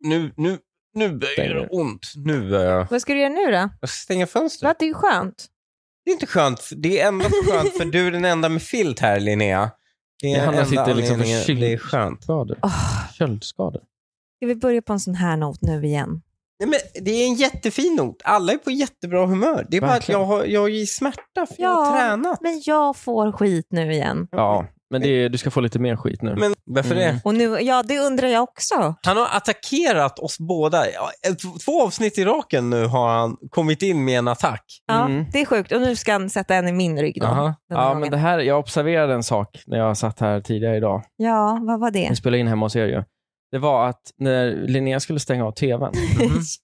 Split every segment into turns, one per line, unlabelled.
nu, nu, nu börjar det
Stänger.
ont. Nu, eh,
Vad ska du göra nu då?
jag ska stänga fönstret.
Lät det ju skönt.
Det är inte skönt. Det är endast skönt för du är den enda med filt här, Linnea. Det är
Johanna
enda
sitter liksom
anledningen
förkyld.
Det är skönt.
Skador.
Oh,
Köldskador.
ska vi börja på en sån här not nu igen?
Nej, men det är en jättefin ort. Alla är på jättebra humör. Det är bara att
Verkligen.
jag, har, jag är i smärta för jag har
Ja.
tränat.
Men jag får skit nu igen.
Ja, men det är, du ska få lite mer skit nu.
Men varför
Mm.
det?
Och nu, ja, det undrar jag också.
Han har attackerat oss båda. Ja, ett- Två avsnitt i raken nu har han kommit in med en attack.
Ja,
Mm.
Det är sjukt. Och nu ska han sätta en i min rygg då.
Jaha.
den
Ja,
dagen.
men det här, jag observerade en sak när jag satt här tidigare idag.
ja, vad var det?
Vi spelade in hemma hos er ju. Det var att när Linnea skulle stänga av tvn,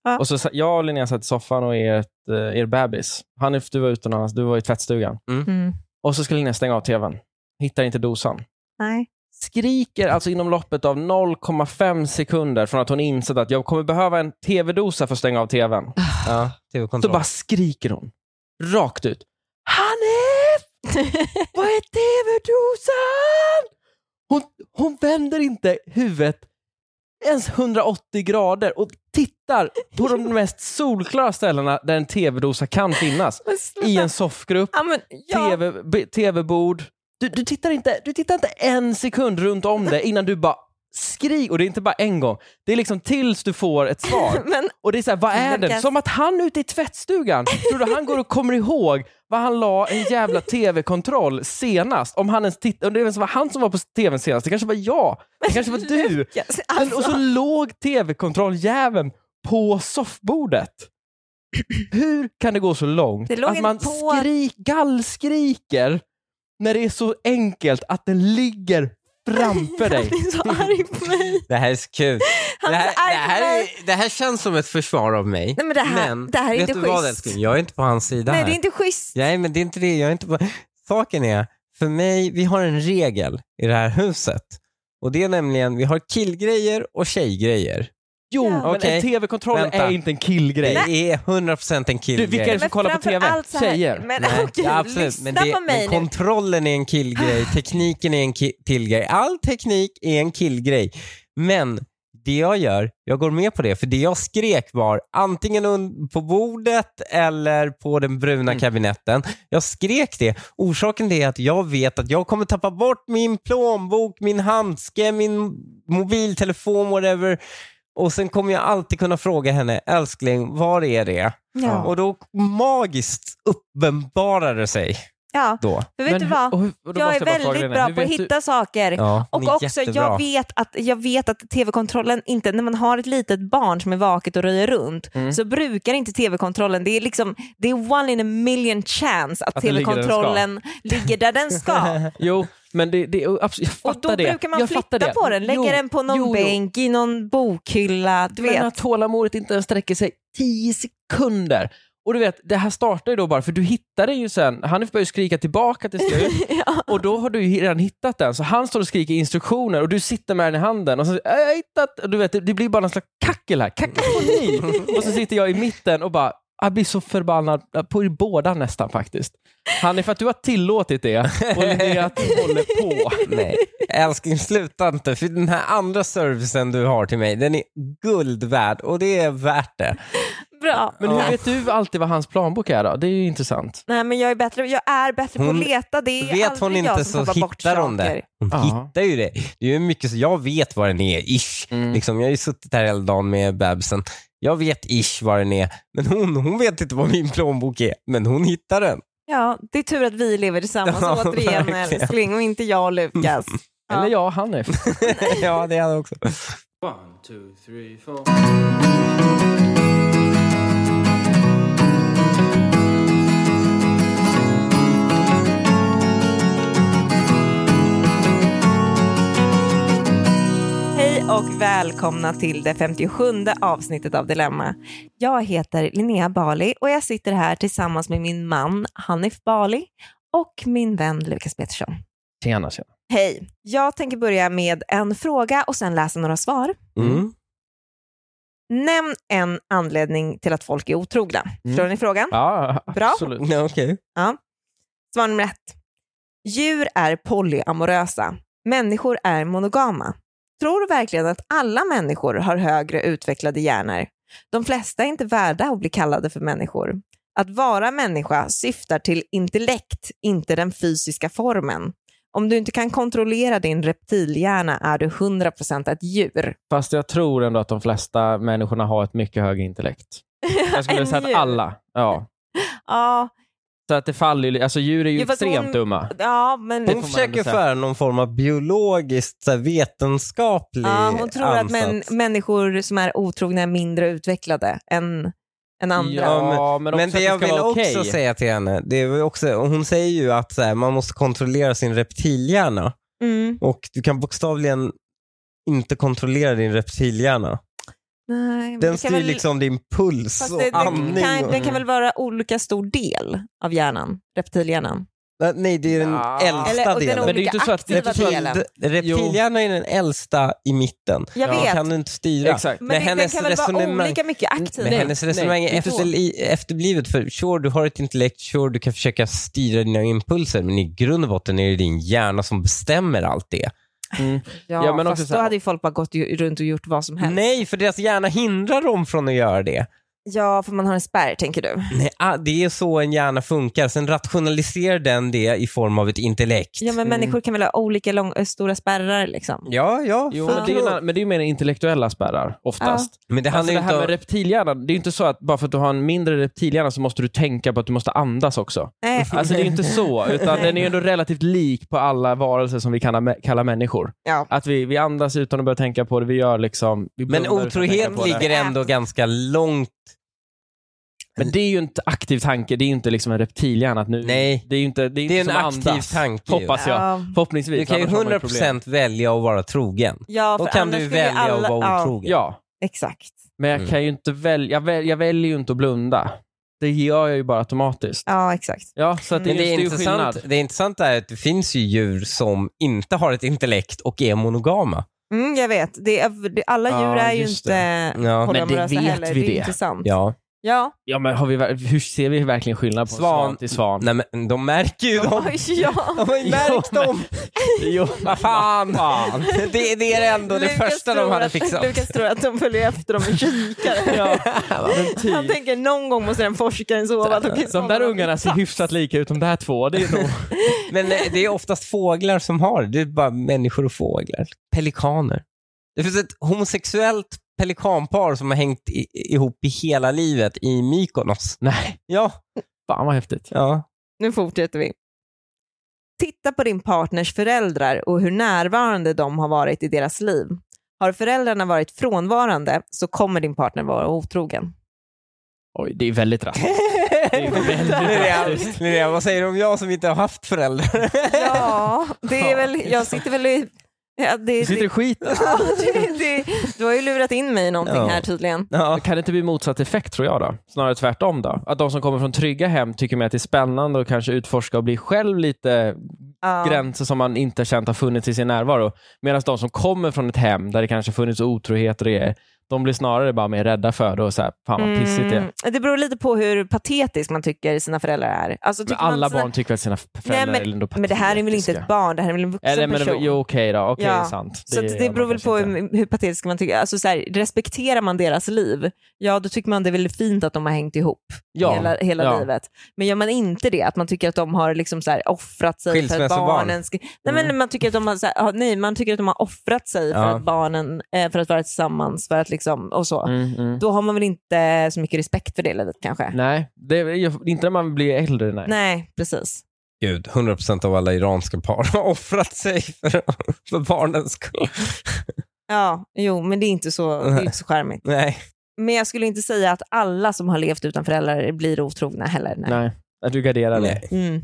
Ja.
och så, sa- jag och Linnea satt i soffan och ert, eh, er bebis, Hanif du var utomlands, du var i tvättstugan.
Mm.
Och så skulle Linnea stänga av tvn, hittar inte dosan.
Nej.
Skriker alltså inom loppet av 0,5 sekunder från att hon insett att jag kommer behöva en tv-dosa för att stänga av tvn.
Ja,
Så
TV-kontroll.
bara skriker hon, rakt ut. Hanif! Vad är tv-dosan? Hon, hon vänder inte huvudet ens 180 grader och tittar på de mest solklara ställena där en tv-dosa kan finnas.
Men sluta.
I en soffgrupp,
ja, men, ja.
TV, b- tv-bord. Du, du, tittar inte, du tittar inte en sekund runt om dig innan du bara skriker. Och det är inte bara en gång. Det är liksom tills du får ett svar.
men
Och det är så här, vad är den?
Lukas.
Som att han ute i tvättstugan, tror du han går och kommer ihåg vad han la en jävla tv-kontroll senast? Om, han ens titt- om det ens var han som var på tvn senast, det kanske var jag, det kanske var du.
Lukas,
Men,
alltså,
och så låg tv-kontrolljäveln på soffbordet. Hur kan det gå så långt
Det låg
att man
inte på-
skrik, gallskriker när det är så enkelt att den ligger framför
han
dig?
är så arg på mig.
Det här är så kul.
Han
det,
är
här, det,
så arg på
här
mig.
är, det här känns som ett försvar av mig.
Nej, men det här-
men
det här är
vet
inte
du vad,
schysst.
älskling? Jag är inte på hans sida
Nej,
här.
det är inte schysst.
Nej, men det är inte det. Jag är inte på... Saken är, för mig, vi har en regel i det här huset. Och det är nämligen, vi har killgrejer och tjejgrejer.
Jo,
Ja.
men
Okej.
en tv-kontroll
Vänta.
är inte en killgrej.
Det är 100% en
Du,
killgrej.
vilka är det som
Men
kollar på TV?
framför allt så här-
Tjejer.
Men
Nej,
okej,
ja, absolut.
lyssna
Men det,
på mig
men
nu. Ah.
kontrollen är en killgrej, tekniken är en ki- killgrej. All teknik är en killgrej. Men det jag gör, jag går med på det, för det jag skrek var antingen un- på bordet eller på den bruna
Mm.
kabinetten. Jag skrek det. Orsaken till det är att jag vet att jag kommer tappa bort min plånbok, min handske, min mobiltelefon, whatever. Och sen kommer jag alltid kunna fråga henne, älskling, var är det?
Ja.
Och då magiskt uppenbarar det sig
Ja.
då.
Men vet du vad?
och hur- och då
Jag
måste
är
bara fråga
väldigt
Lena,
bra
hur
på att
vet du-
hitta saker.
Ja,
Och
ni är
också,
jättebra.
jag vet, att, jag vet att tv-kontrollen inte, när man har ett litet barn som är vaket och röjer runt,
Mm.
så brukar inte tv-kontrollen, det är liksom, det är one in a million chance att,
Att den ligger där den ska.
tv-kontrollen ligger där den ska.
Jo, men det, det, och absolut, jag fattar
och då
det.
brukar man
jag
flytta
fattar det.
på den, lägga
Jo,
den på någon
jo, jo.
bänk, i någon bokhylla, du
Du vet.
vet.
När tålamodet inte ens sträcker sig 10 sekunder. Och du vet, det här startar ju då bara, för du hittar den ju sen. Hanif börjar ju skrika tillbaka till slut.
ja.
Och då har du ju redan hittat den, så han står och skriker instruktioner och du sitter med den i handen och så "Äh, jag har hittat, och du vet, det- det blir bara någon slags kackel här, kakafoni. och så sitter jag i mitten och bara, jag blir så förbannad på er båda nästan faktiskt. Han är för att du har tillåtit det och Linnea att du håller på.
Nej, älskling sluta inte för den här andra servicen du har till mig den är guld värd och det är värt det.
Bra.
Men hur vet du alltid vad hans planbok är då? Det är ju intressant.
Nej men jag är bättre, jag är bättre på
Hon-
att leta, det är
vet
aldrig
hon inte
jag
så
som tappar bort
hittar hon
saker.
det. Hon
Ja.
hittar ju det. Det är ju mycket så jag vet var den är, ish.
Mm.
Liksom, jag har ju suttit här hela dagen med bebisen. Jag vet ish var den är, men hon, hon vet inte var min plånbok är. Men hon hittar den.
Ja, det är tur att vi lever tillsammans
Ja,
återigen
verkligen.
älskling och inte jag och Lukas. Ja.
Eller jag och Hanif.
ja, det är han också.
One, two, three, four.
Hej och välkomna till det 57 avsnittet av Dilemma. Jag heter Linnea Bali och jag sitter här tillsammans med min man Hanif Bali och min vän Lukas Petersson.
Tjena, tjena.
Hej! Jag tänker börja med en fråga och sen läsa några svar.
Mm.
Nämn en anledning till att folk är otrogna.
Mm.
Förstår ni frågan?
Ja,
Bra.
absolut.
Ja, okej.
Svar nummer ett. Djur är polyamorösa. Människor är monogama. Tror du verkligen att alla människor har högre utvecklade hjärnor? De flesta är inte värda att bli kallade för människor. Att vara människa syftar till intellekt, inte den fysiska formen. Om du inte kan kontrollera din reptilhjärna är du 100% ett djur.
Fast jag tror ändå att de flesta människorna har ett mycket högre intellekt. Jag skulle
Än
säga att
djur.
alla. Ja.
Ja,
Så att det faller ju, alltså djur är ju
Jo, fast
extremt
hon-
dumma.
ja men...
Det får
Hon
man
försöker
ändå säga.
föra någon form av biologiskt så här, vetenskaplig
Ja, hon tror att
ansats.
män, människor som är otrogna är mindre utvecklade än, än andra.
Ja, men, också
Men
att
det jag
ska
vill
vara
också
okej.
säga till henne, det är väl också, och hon säger ju att så här, man måste kontrollera sin reptilhjärna
Mm,
och du kan bokstavligen inte kontrollera din reptilhärna.
nej, men
Den
Mm, det kan
styr
väl-
liksom din puls
fast
och
det,
andning.
det, kan,
och-
det kan väl vara olika stor del av hjärnan, reptilhjärnan.
Äh, Nej, det är den
Ja.
äldsta
Eller, och den
delen.
Men det är ju
olika
inte så att-
aktiva
Reptil-
delen.
D- Reptilhjärnan är den äldsta i mitten.
Jag
Den
Ja.
vet,
kan
men,
du inte styra.
Exakt.
men
det, den
hennes
kan väl vara
resonemang-
olika mycket aktiv.
Men hennes resonemang
nej,
är
inte så.
efterli- efterblivet för sure, du har ett intellekt, sure, du kan försöka styra dina impulser, men i grund och botten är det din hjärna som bestämmer allt det.
Mm.
ja,
Ja, men
fast
också så
då
här-
hade ju folk bara gått ju runt och gjort vad som helst.
Nej, för deras hjärna hindrar dem från att göra det.
Ja, för man har en spärr tänker du.
Nej, ah, det är så en hjärna funkar. Sen rationaliserar den det i form av ett intellekt.
Ja, men människor kan väl ha olika lång, ö, stora spärrar liksom.
Ja, ja.
Jo,
fan.
men, det är, ju en annan- men det är ju mer intellektuella spärrar oftast.
men det
Alltså
handlar
det
ju
här
inte
med
om...
reptilhjärnan, det är ju inte så att bara för att du har en mindre reptilhjärna så måste du tänka på att du måste andas också.
Nej,
Alltså det är ju inte så, utan
Nej.
den är ju ändå relativt lik på alla varelser som vi kan kalla människor.
ja.
Att vi, vi andas utan att börja tänka på det, vi gör liksom... Vi
Men
blundar utan att tänka
otrohet
på det.
ligger ändå ganska långt.
Men det är ju inte aktiv tanke, det är ju inte liksom en reptilhjärna att nu...
Nej.
Det är ju inte, det är inte
Det är en
som
aktiv
andas,
tanke ju.
Hoppas jag.
Ja.
Förhoppningsvis.
Du kan ju
annars har man problem.
100% välja att vara trogen.
Ja,
Då
för
kan
annars
du
skulle
välja
alla-
att vara
ja,
otrogen.
Ja,
Exakt.
men jag
Mm.
kan ju inte välja, jag, väl, jag väljer ju inte att blunda. Det gör jag ju bara automatiskt.
Ja, exakt.
Ja, så att det,
Men det,
är
är
ju skillnad.
intressant, det är intressant är att det finns ju djur som inte har ett intellekt och är monogama.
Mm, jag vet. Det är, det, alla
Ja,
djur är ju
just
inte
Ja.
det
polyamorösa
vet
heller.
vi
det är
det.
intressant.
Ja.
Ja.
Ja, men har vi, ver- hur ser vi verkligen skillnad på svan,
Svan.
till svan?
Nej, men de märker ju dem.
Oj, ja.
De har ju märkt
Jo, men-
dem.
Jo,
Vad fan. Det, det är ändå det
Lukas
första
tror
de hade
att-
fixat.
Lukas tror att de följer efter dem med kikare.
Ja, typ.
Han tänker någon gång måste den forskaren sova. Då kan
de där ungarna ser hyfsat lika ut, de där två. Det är nog...
Men eh, det är oftast fåglar som har det. Det är bara människor och fåglar. Pelikaner. Det finns ett homosexuellt pelikanpar som har hängt i, ihop i hela livet i Mykonos.
Nej,
Ja.
fan vad häftigt.
ja.
Nu fortsätter vi. Titta på din partners föräldrar och hur närvarande de har varit i deras liv. Har föräldrarna varit frånvarande så kommer din partner vara otrogen.
Oj, det är väldigt rasistiskt. Det är väldigt
Linnea,
rasistiskt.
Linnea, vad säger du om jag som inte har haft föräldrar?
Ja, det är väl, jag sitter väl i... Ja, det,
Du
det,
sitter i skiten.
Ja, det, det, du har ju lurat in mig i någonting
Ja.
här tydligen.
Ja.
Kan det inte bli motsatt effekt tror jag då? Snarare tvärtom då? Att de som kommer från trygga hem tycker mer att det är spännande och kanske utforska och bli själv lite
Ja.
gränser som man inte känt har funnits i sin närvaro. Medan de som kommer från ett hem där det kanske funnits otrohet och grejer, de blir snarare bara mer rädda för det och så här, fan vad pissigt det är.
Mm, det beror lite på hur patetisk man tycker sina föräldrar är. Alltså,
Men
tycker man
alla
sina...
barn tycker väl att sina föräldrar
Nej,
är ändå
Men det här är väl inte ett
patetiska?
barn, det här är väl en vuxen
Eller, men,
person.
Jo, okej då. Okej,
Ja.
det är sant.
så det,
gör
det
man
beror väl
kanske
på
inte.
hur, hur patetisk man tycker. Alltså, så här, respekterar man deras liv, ja då tycker man det är väldigt fint att de har hängt ihop
Ja,
hela, hela
ja.
livet. Men gör man inte det, att man tycker att de har liksom så här, offrat sig för att
Skilsmässobarn.
barnen ska... Nej,
Mm.
men man tycker att de har, så här, ja, nej, man tycker att de har offrat sig för
Ja.
att barnen, eh, för att vara tillsammans, för att liksom, och så.
Mm, mm.
Då har man väl inte så mycket respekt för det livet kanske?
Nej, det är ju- inte när man blir äldre. Nej.
Nej, precis.
Gud, 100% av alla iranska par har offrat sig för, för barnens skull.
Ja, jo, men det är inte så, det är inte så charmigt.
Nej.
Men jag skulle inte säga att alla som har levt utan föräldrar blir otrogna heller. Nej.
Nej. Att du garderar dig.
Nej.
Mm.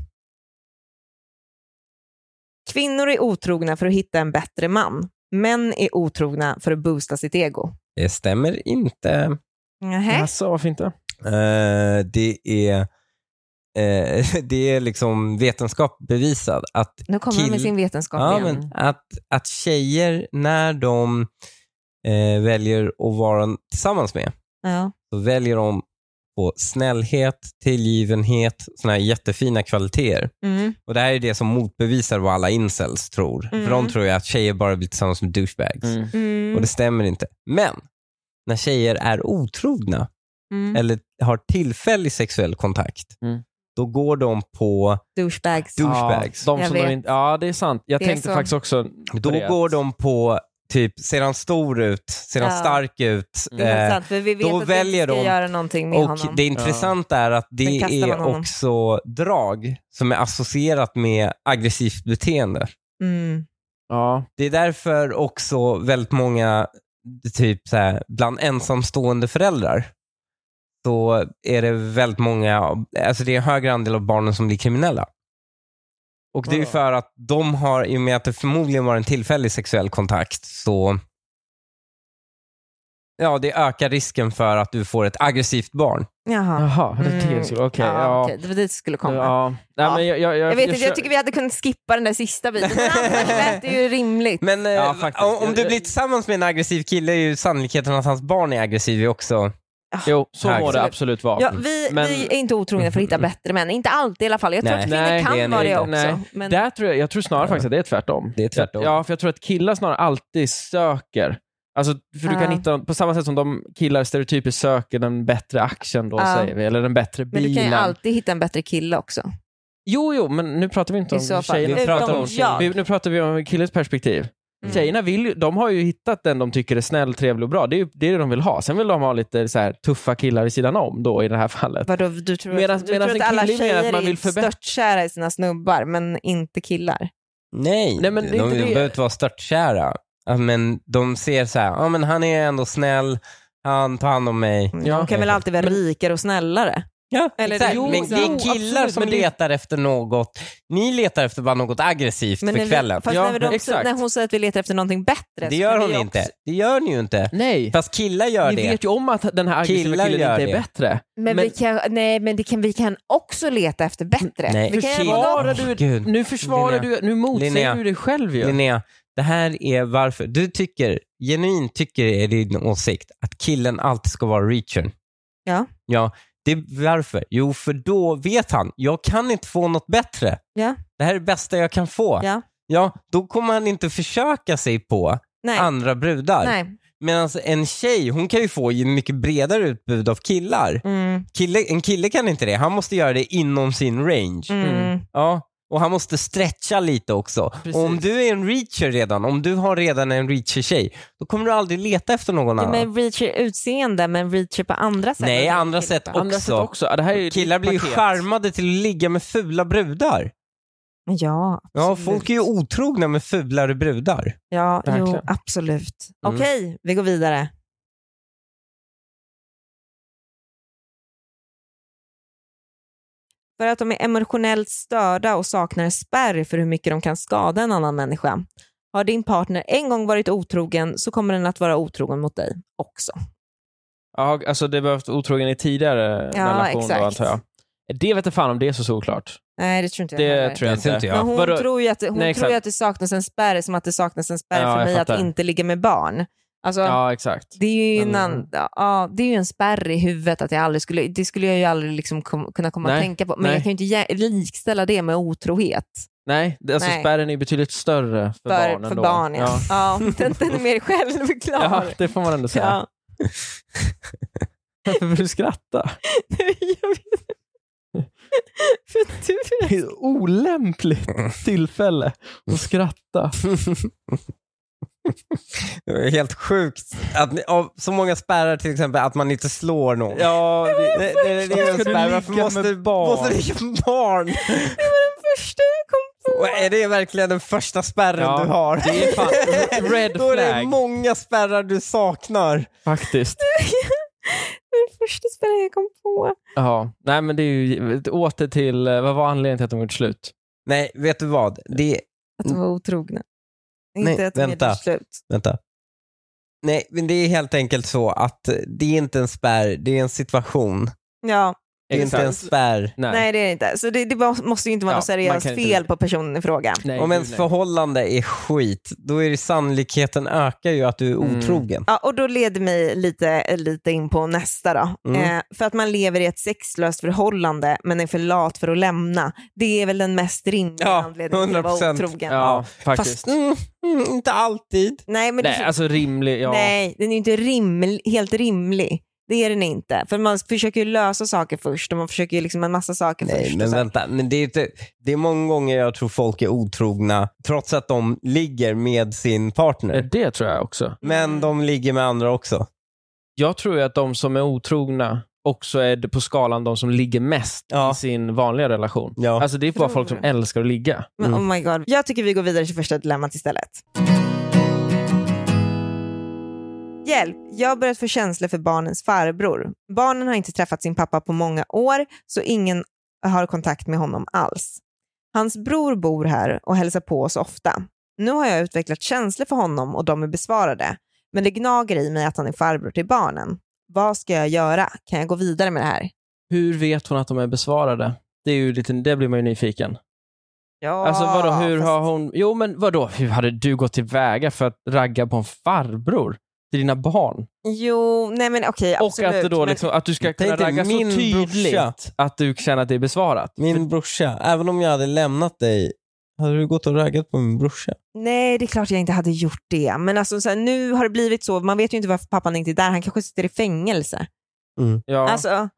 Kvinnor är otrogna för att hitta en bättre man. Män är otrogna för att boosta sitt ego.
Det stämmer inte.
Nähä.
Alltså, varför inte?
Eh, det är eh, det är liksom vetenskap bevisad att,
Nu kommer han med
Kill-
sin vetenskap
ja,
igen.
men, att, att tjejer när de eh, väljer att vara tillsammans med
Ja.
så väljer de på snällhet, tillgivenhet, såna här jättefina kvaliteter.
Mm.
Och Det här är det som motbevisar vad alla incels tror.
Mm.
För de tror ju att tjejer bara blir tillsammans med douchebags.
Mm.
Mm.
Och det stämmer inte. Men när tjejer är otrogna
Mm.
eller har tillfällig sexuell kontakt,
Mm.
då går de på
Douchebags.
Du- douchebags.
Ja, de
Jag
som de
vet.
inte, ja, det är sant. Jag
Det är
tänkte
så.
faktiskt också på
då
det.
går de på typ, ser han stor ut? Ser han
Ja.
stark ut?
Det är
Eh,
sant, för vi vet
då
att vi inte
väljer
ska
de-
göra någonting med
Och
honom.
det intressanta är att
Sen
det
kastar man
är
honom.
också drag som är associerat med aggressivt beteende.
Mm.
Ja,
Det är därför också väldigt många, typ så här, bland ensamstående föräldrar, så är det väldigt många, alltså det är en högre andel av barnen som blir kriminella. Och det är ju
Ja.
för att de har, i och med att det förmodligen var en tillfällig sexuell kontakt, så ja, det ökar risken för att du får ett aggressivt barn.
Jaha.
jaha, det är det
Mm.
som- okej.
ja,
ja.
okej. Det var dit du skulle komma.
Ja. Nej,
Ja.
men jag, jag, jag,
Jag vet inte, jag
försöker-
tycker vi hade kunnat skippa den där sista biten. Men annars lät det ju rimligt.
Men eh,
Ja, faktiskt.
om- om du blir tillsammans med en aggressiv kille är ju sannolikheten att hans barn är aggressiv ju också.
Jo, så må
Absolut.
det absolut vara.
Ja, vi,
Men-
vi är inte otrogna för att hitta bättre män. Inte alltid i alla fall. Jag tror
Nej.
att kvinnor
Nej,
det är
kan
ni
vara det
inte.
också.
Nej.
Men,
Där tror jag, jag tror snarare faktiskt att det är tvärtom.
Det är tvärtom.
Ja, för jag tror att killar snarare alltid söker. Alltså, för du
Ja.
kan hitta, på samma sätt som de killar stereotypiskt söker den bättre aktien då,
Ja.
säger vi, eller den bättre
Ah. men du
bilen.
kan ju alltid hitta en bättre kille också.
Jo, jo, men nu pratar vi inte
I
om
så fall.
tjejerna.
Vi pratar
Utom
om
jag.
Vi, nu pratar vi om killens perspektiv.
Mm.
Tjejerna vill ju, de har ju hittat den de tycker är snäll, trevlig och bra. Det är ju det, är det de vill ha. Sen vill de ha lite så här, tuffa killar i sidan om då i det här fallet.
Vadå, du tror,
Medan-
du
medan
tror
en
att alla
kille menar att
tjejer
man vill
är
förbättra-
störtkära i sina snubbar, men inte killar?
Nej,
Nej, men det
de,
är
de
inte det.
behöver inte vara störtkära. Ja, Men de ser så här, ja men han är ändå snäll, han tar hand om mig.
Mm,
Ja.
De kan väl alltid vara
Men-
rikare och snällare?
Ja,
Eller
exakt.
det-
men
jo,
det är
jo,
killar
absolut,
som
men det-
letar efter något. Ni letar efter bara något aggressivt
Men
för
när, vi,
kvällen.
fast
Ja,
när, de,
exakt.
när hon säger att vi letar efter någonting bättre
Det
så
gör
kan
hon
vi ju
inte.
också-
Det gör ni ju inte.
Nej,
Fast killar gör
ni
det.
vet ju om att den här aggressiva
Killar
killen
gör
inte är
det.
bättre.
Men,
Men-
vi, kan, nej, men det kan, vi kan också leta efter bättre.
Nej.
Vi kan
Försvar-
göra både
Försvarar
Åh,
du,
Gud.
nu försvarar
Linnea.
du, nu motsäger
Linnea.
du dig själv ju.
Linnea, det här är varför du tycker, genuint tycker är din åsikt att killen alltid ska vara reachern.
Ja.
Ja, det är varför. Jo, för då vet han, jag kan inte få något bättre.
Ja.
Det här är det bästa jag kan få.
Ja.
Ja, då kommer han inte försöka sig på
Nej.
andra brudar.
Nej.
Medan en tjej, hon kan ju få ett mycket bredare utbud av killar.
Mm.
Kille, en kille kan inte det. Han måste göra det inom sin range.
Mm.
Mm.
Ja, och han måste stretcha lite också.
Precis.
Och om du är en reacher redan, om du har redan en reacher-tjej, då kommer du aldrig leta efter någon
Ja,
annan.
men reacher utseende, men reacher på andra sätt.
Nej, andra sätt
Men
Andra sätt
också.
också. Ja, Det här är ju
Killar
ditt
blir ju
paket.
charmade till att ligga med fula brudar.
Ja,
Ja,
absolut.
folk är ju otrogna med fulare brudar.
Ja, jo,
Verkligen.
absolut.
Mm.
Okej, vi går vidare. För att de är emotionellt störda och saknar spärr för hur mycket de kan skada en annan människa. Har din partner en gång varit otrogen så kommer den att vara otrogen mot dig också.
Ja, alltså det behövt otrogen i tidigare
Ja,
relation
exakt.
då antar jag. Det vet jag fan om det är så såklart.
Nej, det tror inte jag
Det
heller.
tror jag
Det tror inte
inte.
jag.
Men hon
Vadå?
tror ju att,
Nej,
hon tror ju
exakt.
att det saknas en spärr som att det saknas en spärr
Ja,
för
jag
mig att
fattar.
inte ligga med barn. Alltså,
Ja, exakt.
Det är ju en,
Men-
ann- ja, det är ju en spärr i huvudet att jag aldrig skulle, det skulle jag ju aldrig liksom kom, kunna komma
Nej,
att tänka på. Men
nej.
jag kan ju inte jä- likställa det med otrohet
Nej, det, alltså
Nej.
spärren är betydligt större för,
för,
barnen
för
då.
barn. Ja. Ja. den, den är mer självklar.
ja, det får man ändå säga.
Ja.
Varför vill du skratta?
Nej, jag vet inte. För du
Det är ett olämpligt tillfälle att skratta.
Det är helt sjukt att ni, av så många spärrar till exempel att man inte slår någon.
Ja, det,
Det, det, det är en
Ska du
spärr. Varför
ligga
måste,
med barn?
måste ligga med barn?
första jag kom
Och är det verkligen den första spärren
Ja,
du har?
det är fan red
Då är det
flag
många spärrar du saknar.
faktiskt.
den första spärren jag kom på.
Ja, nej men det är ju åter till, eh, vad var anledningen till att de gjorde slut?
Nej, vet du vad? Det,
Att de var otrogna.
Nej,
Inte att de
vänta.
gjorde slut.
Vänta. Nej, men det är helt enkelt så att det är inte en spärr, det är en situation.
Ja,
Det är inte en
Exakt.
spärr.
Nej.
Nej, det är det inte. Så det, det må- måste ju inte vara
Ja,
något
man
seriöst
kan inte-
fel på personen i fråga.
Nej,
Om
gud,
ens
nej.
förhållande är skit, då är det sannolikheten ökar ju att du är
Mm.
otrogen.
Ja, och då leder mig lite, eh, lite in på nästa då.
Mm.
Eh, för att man lever i ett sexlöst förhållande men är för lat för att lämna. Det är väl den mest rimliga
Ja,
anledningen till att vara
100%.
otrogen.
Ja, faktiskt.
Fast mm, mm, inte alltid.
Nej, men det
Nej, alltså rimlig, ja.
Nej, den är ju inte riml- helt rimlig. Det är den inte. För man försöker ju lösa saker först och man försöker ju liksom en massa saker först.
Nej,
och
men
så.
vänta. Men det, är inte, det är många gånger jag tror folk är otrogna trots att de ligger med sin partner.
Det tror jag också.
Men de ligger med andra också.
Jag tror ju att de som är otrogna också är det på skalan de som ligger mest
Ja.
i sin vanliga relation.
Ja.
Alltså det är bara folk som
Tror det.
älskar att ligga.
Men oh my god. Jag tycker vi går vidare till första dilemmat istället. Hjälp, jag har börjat få känslor för barnens farbror. Barnen har inte träffat sin pappa på många år så ingen har kontakt med honom alls. Hans bror bor här och hälsar på oss ofta. Nu har jag utvecklat känslor för honom och de är besvarade. Men det gnager i mig att han är farbror till barnen. Vad ska jag göra? Kan jag gå vidare med det här?
Hur vet hon att de är besvarade? Det, är ju lite, det blir man ju nyfiken.
Ja,
Alltså vadå, hur
fast-
har hon... Jo men vadå, hur hade du gått tillväga för att ragga på en farbror till dina barn?
Jo, nej men okej, absolut.
Och att, det då,
men-
liksom, att du ska
Tänk
kunna
dig,
ragga så
min
tydligt
brorsa.
att du känner att det är besvarat.
Min brorsa, även om jag hade lämnat dig, hade du gått och raggat på min brorsa?
Nej, det är klart jag inte hade gjort det. Men alltså, så här, nu har det blivit så. Man vet ju inte varför pappan inte är där. Han kanske sitter i fängelse.
Ja,
Alltså,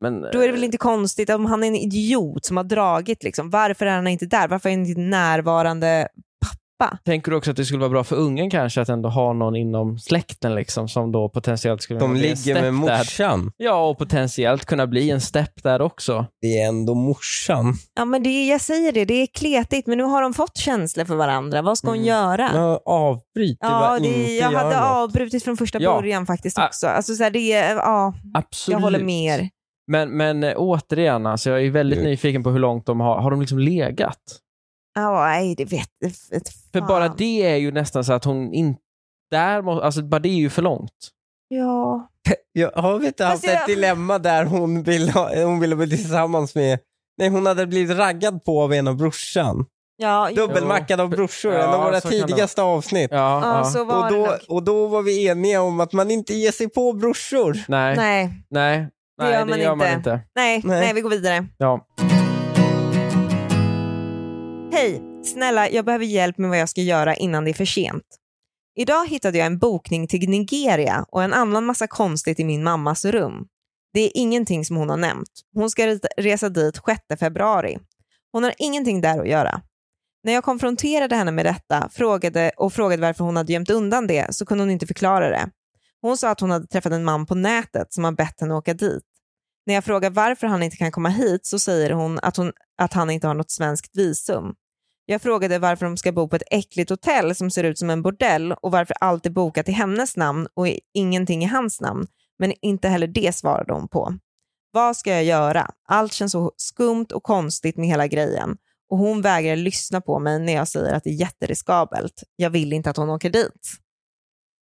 men, eh,
då är det väl inte konstigt om han är en idiot som har dragit. Liksom. Varför är han inte där? Varför är han inte närvarande?
Tänker du också att det skulle vara bra för ungen kanske att ändå ha någon inom släkten liksom, som då potentiellt skulle
De
kunna bli en
ligger med
stepdad?
morsan.
Ja, och potentiellt kunna bli en step där också.
Det är ändå morsan.
Ja, men det, är- jag säger det, det är kletigt. Men nu har de fått känslor för varandra. Vad ska hon
Mm.
göra?
Jag avbryter
Ja,
vad
det,
inte
jag
gör
hade
något.
avbrutit från första
Ja.
början faktiskt
Ah.
också. Alltså, så här, det är, ja,
Absolut.
jag håller med er.
Men, men eh, återigen, alltså, jag är väldigt
Mm.
nyfiken på hur långt de har, har de liksom legat.
Ja, nej, det vet vet
För
fan.
bara det är ju nästan så att hon inte... Där må, alltså, bara det är ju för långt.
Ja.
Jag har vi inte haft
Fast Alltså, jag-
ett dilemma där hon ville, ha- hon ville bli tillsammans med... Nej, hon hade blivit raggad på av ena brorsan.
Ja, ja.
Dubbelmackad av brorsor,
Ja,
en av våra
så kan det
tidigaste avsnitt.
Ja, ja.
Ja, så var
Och
det
då,
nog.
och då var vi eniga om att man inte ger sig på brorsor.
Nej, nej,
Nej,
nej,
Det gör man
man
inte.
inte.
nej,
Nej.
nej, vi går vidare.
Ja.
Hej, snälla, jag behöver hjälp med vad jag ska göra innan det är för sent. Idag hittade jag en bokning till Nigeria och en annan massa konstigt i min mammas rum. Det är ingenting som hon har nämnt. Hon ska rita- resa dit 6 februari. Hon har ingenting där att göra. När jag konfronterade henne med detta frågade, och frågade varför hon hade gömt undan det så kunde hon inte förklara det. Hon sa att hon hade träffat en man på nätet som har bett henne åka dit. När jag frågar varför han inte kan komma hit så säger hon att, hon att han inte har något svenskt visum. Jag frågade varför de ska bo på ett äckligt hotell som ser ut som en bordell och varför allt är bokat i hennes namn och i- ingenting i hans namn, men inte heller det svarade hon på. Vad ska jag göra? Allt känns så skumt och konstigt med hela grejen och hon vägrar lyssna på mig när jag säger att det är jätteriskabelt. Jag vill inte att hon åker dit.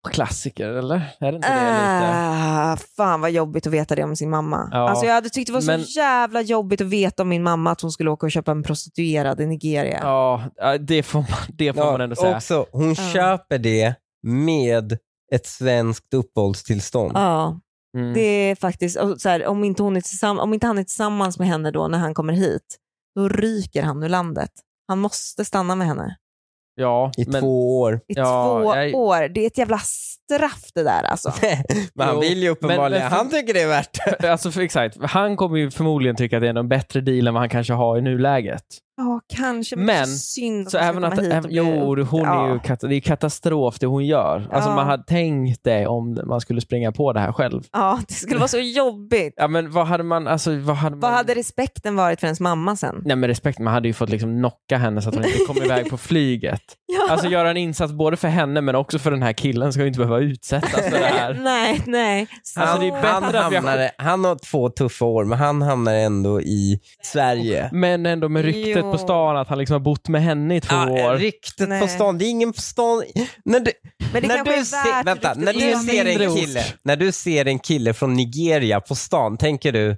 Klassiker, eller? Är det inte det lite?
Ah, fan vad jobbigt att veta det om sin mamma.
Ja.
Alltså jag hade tyckt det var
Men-
så jävla jobbigt att veta om min mamma att hon skulle åka och köpa en prostituerad i Nigeria.
Ja, ja, det får man, det får
Ja,
man ändå säga.
Också, hon
Ja.
köper det med ett svenskt uppehållstillstånd.
Ja,
Mm.
det är faktiskt, och så här, om, inte hon är tillsammans, om inte han är tillsammans med henne då när han kommer hit, då ryker han ur landet. Han måste stanna med henne
ja,
I
men,
två år.
i
Ja,
två
jag-
år. Det är ett jävla straff det där alltså.
Men han
Jo,
vill ju uppenbarligen.
men- men-
Han tycker det är värt det.
Alltså för, exakt, han kommer ju förmodligen tycka att det är en bättre deal än vad han kanske har i nuläget.
Ja, kanske. Men,
Men,
det är synd att
Så
hon ska
även
komma
att,
hit och
även,
bli-
jo, hon är ju,
ja.
kat- det är ju katastrof det hon gör. Alltså
Ja.
man hade tänkt det om man skulle springa på det här själv.
Ja, det skulle vara så jobbigt.
Ja men vad hade man, alltså vad hade man...
Vad hade respekten varit för ens mamma sen?
Nej men respekt, man hade ju fått liksom knocka henne så att hon inte kom iväg på flyget.
Ja.
Alltså göra en insats både för henne men också för den här killen ska ju inte behöva utsättas för det här.
nej, nej.
Alltså,
Han,
det är bättre
han,
att vi har-
hamnade, han har två tuffa år, men han hamnar ändå i Sverige.
Men ändå med ryktet
Jo.
på stan att han liksom har bott med henne i två
Ja,
år.
ryktet
Nej.
på stan. Det är ingen på stan. När du,
Men det
när
kanske
du
är
ser,
värt
vänta,
ryktet
när
i
du
en
ser
mindre
en
ort.
kille, när du ser en kille från Nigeria på stan, tänker du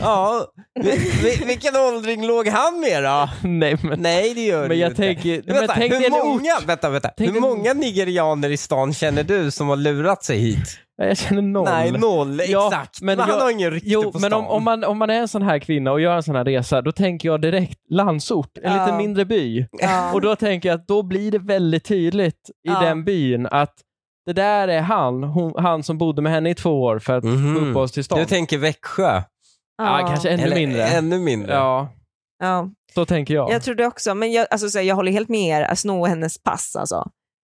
Ja, vi- vi- vilken åldring låg han med då?
Nej men,
Nej, det gör
men
du
jag
inte.
tänker... Men
vänta,
tänk dig
hur
en ort-
många, vänta, vänta.
Tänk
hur
dig en-
många nigerianer i stan känner du som har lurat sig hit?
Nej, Jag känner noll.
Nej, noll.
Ja,
exakt.
men
Men han
jag-
har ingen rykte
Jo,
på
men
stan.
om, om, man, om man är en sån här kvinna och gör en sån här resa, då tänker jag direkt landsort, en
Ja.
liten mindre by.
Ja.
Och då tänker jag att då blir det väldigt tydligt i
Ja.
den byn att det där är han, hon, han som bodde med henne i två år för att
Mhm.
få uppehållstillstånd.
Du tänker Växjö?
ja, kanske ännu
Eller
mindre.
Ännu mindre.
Ja,
Ja.
så tänker jag.
Jag tror det också, men jag, alltså, så här, jag håller helt med er. Att sno hennes pass alltså.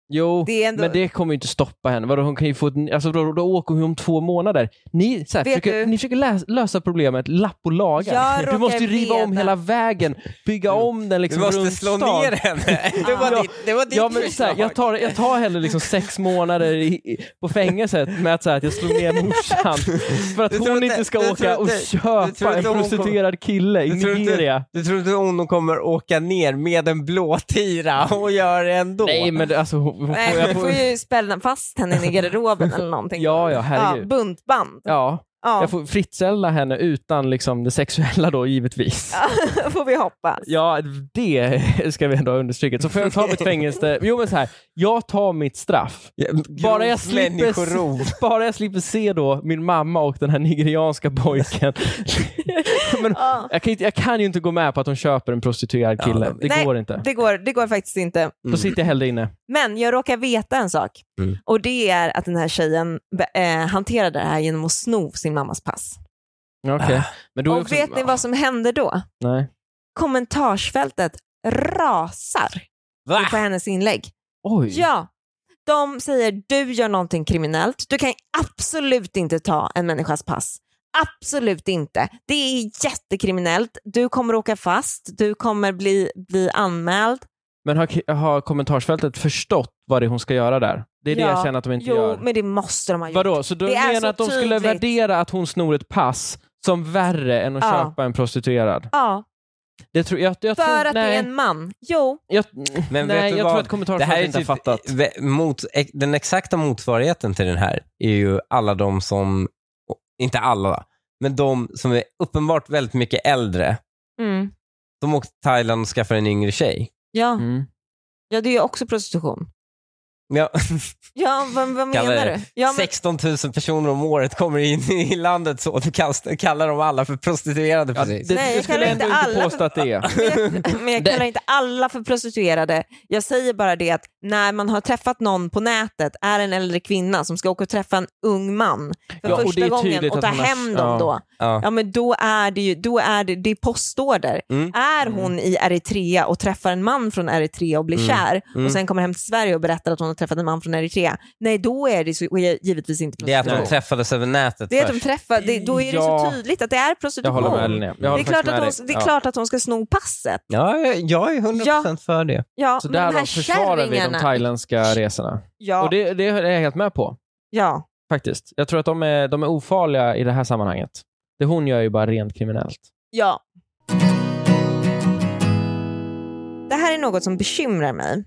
jo,
Det är ändå...
men det kommer ju inte stoppa henne. Vadå, hon kan ju få ett, alltså, då, då åker hon om två månader. Ni, så här,
Vet
försöker,
du-
ni försöker läs, lösa problemet lapp och laga.
Jag
du
råkar
måste ju riva om
veta-
hela vägen, bygga om den
Du
liksom
måste
runt
slå
stan.
ner henne. Det var
Ja.
ditt, det var ditt
Ja, men så här,
förslag.
jag, tar, jag tar hellre liksom sex månader i, i- på fängelset med att, så här, att jag slår ner morsan för att
Du tror
hon
inte-
inte ska
du tror
åka och
inte- du tror
köpa en
inte hon kommer-
prostituerad kille i
Du tror inte-
Nigeria.
Du tror inte hon kommer åka ner med en blå tira och göra det ändå?
Nej, men det- alltså... Hon, hon får,
Nej,
jag
vi
får,
får ju spänna fast henne in i garderoben eller någonting.
ja, ja,
ja
herregud.
buntband.
Ja,
Ja,
jag får fritzella henne utan liksom det sexuella då, givetvis.
får vi hoppas.
Ja, det ska vi ändå ha understrukit. Så får jag ta mitt fängelse... Jo, men så här. Jag tar mitt straff.
Ja,
Bara jag,
grovt
slipper,
människorov.
bara jag slipper se då min mamma och den här nigerianska pojken. Men
Ja.
jag, kan inte, jag kan ju inte gå med på att de köper en prostituerad kille.
Ja,
det
Nej,
går inte.
Det går, det går faktiskt inte.
Då sitter jag hellre inne.
Men jag råkar veta en sak
Mm.
och det är att den här tjejen be- eh, hanterade det här genom att sno sin mammas pass.
Okej. Ah. Men då är
och
också-
vet ni vad som händer då?
Nej.
Kommentarsfältet rasar
Va?
Ah.
på hennes inlägg.
Oj.
Ja, de säger du gör någonting kriminellt. Du kan absolut inte ta en människas pass. Absolut inte. Det är jättekriminellt. Du kommer åka fast. Du kommer bli, bli anmäld.
Men har, ki- har kommentarsfältet förstått vad det är hon ska göra där? Det är det
Ja.
jag känner att de inte
Jo,
gör.
men det måste de ha gjort.
Vadå, så du
Det är
menar
så
att de skulle
tydligt.
värdera att hon snor ett pass som värre än att
Ja.
köpa en prostituerad?
Ja,
Det tror jag, jag
för
tror,
att det
nej,
är en man. Jo,
jag,
Men vet
nej,
du
jag
vad? Det
tror att
här är
kommentarsfältet inte har
typ-
fattat.
Ve- Mot, ex- den exakta motsvarigheten till den här är ju alla de som, inte alla, men de som är uppenbart väldigt mycket äldre.
mm.
De åkte till Thailand och skaffade en yngre tjej.
ja.
Mm.
ja, det är ju också prostitution.
Ja,
Ja, vad, vad
Kallar
menar
det
du? Ja, men,
16 000 personer om året kommer in i landet så du kast- kallar dem alla för prostituerade
Ja,
precis.
det,
Nej,
du
jag
skulle
kallar
ändå
inte
inte
alla
påstå att det är.
men jag, men jag kallar inte alla för prostituerade. Jag säger bara det att när man har träffat någon på nätet är en äldre kvinna som ska åka och träffa en ung man för
Ja, och det
första
är
gången
tydligt
och ta
att hon har-
hem dem
ja.
då.
Ja.
Ja, men då är det ju då är det, det är postorder.
Mm.
Är hon i Eritrea och träffar en man från Eritrea och blir
Mm.
kär
Mm.
och sen kommer hem till Sverige och berättar att hon har träffat en man från Eritrea. Nej, då är det så, givetvis inte
Det är att
prostitution.
de
Nej.
träffades över nätet
Det är att de
först.
träffar, det, då är det
Ja.
så tydligt att det är
Jag
prostitution.
håller med Linnea. Jag
det
håller
är, klart
faktiskt med
att
dig.
hon, det är
Ja.
klart att hon ska sno passet.
Ja, jag- jag är 100% för det.
Ja,
Så
men de
därav
här
försvarar vi de
kärringarna.
thailändska resorna.
Ja,
Och det, det är jag helt med på,
ja.
faktiskt. Jag tror att de är, de är ofarliga i det här sammanhanget. Det hon gör är ju bara rent kriminellt.
ja. Det här är något som bekymrar mig.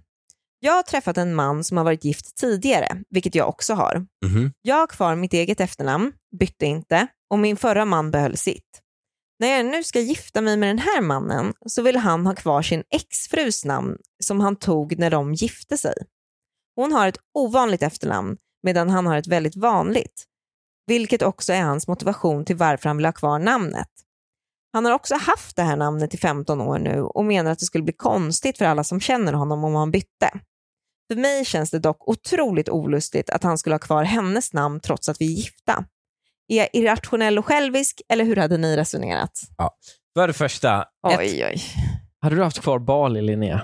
Jag har träffat en man som har varit gift tidigare, vilket jag också har.
Mhm.
Jag har kvar mitt eget efternamn, bytte inte och min förra man behöll sitt. När jag nu ska gifta mig med den här mannen så vill han ha kvar sin exfrus namn som han tog när de gifte sig. Hon har ett ovanligt efternamn medan han har ett väldigt vanligt, vilket också är hans motivation till varför han vill ha kvar namnet. Han har också haft det här namnet i 15 år nu och menar att det skulle bli konstigt för alla som känner honom om han bytte. För mig känns det dock otroligt olustigt att han skulle ha kvar hennes namn trots att vi är gifta. Är jag irrationell och självisk eller hur hade ni resonerat?
För det första,
Oj, oj.
Hade du haft kvar Bali, Linnea?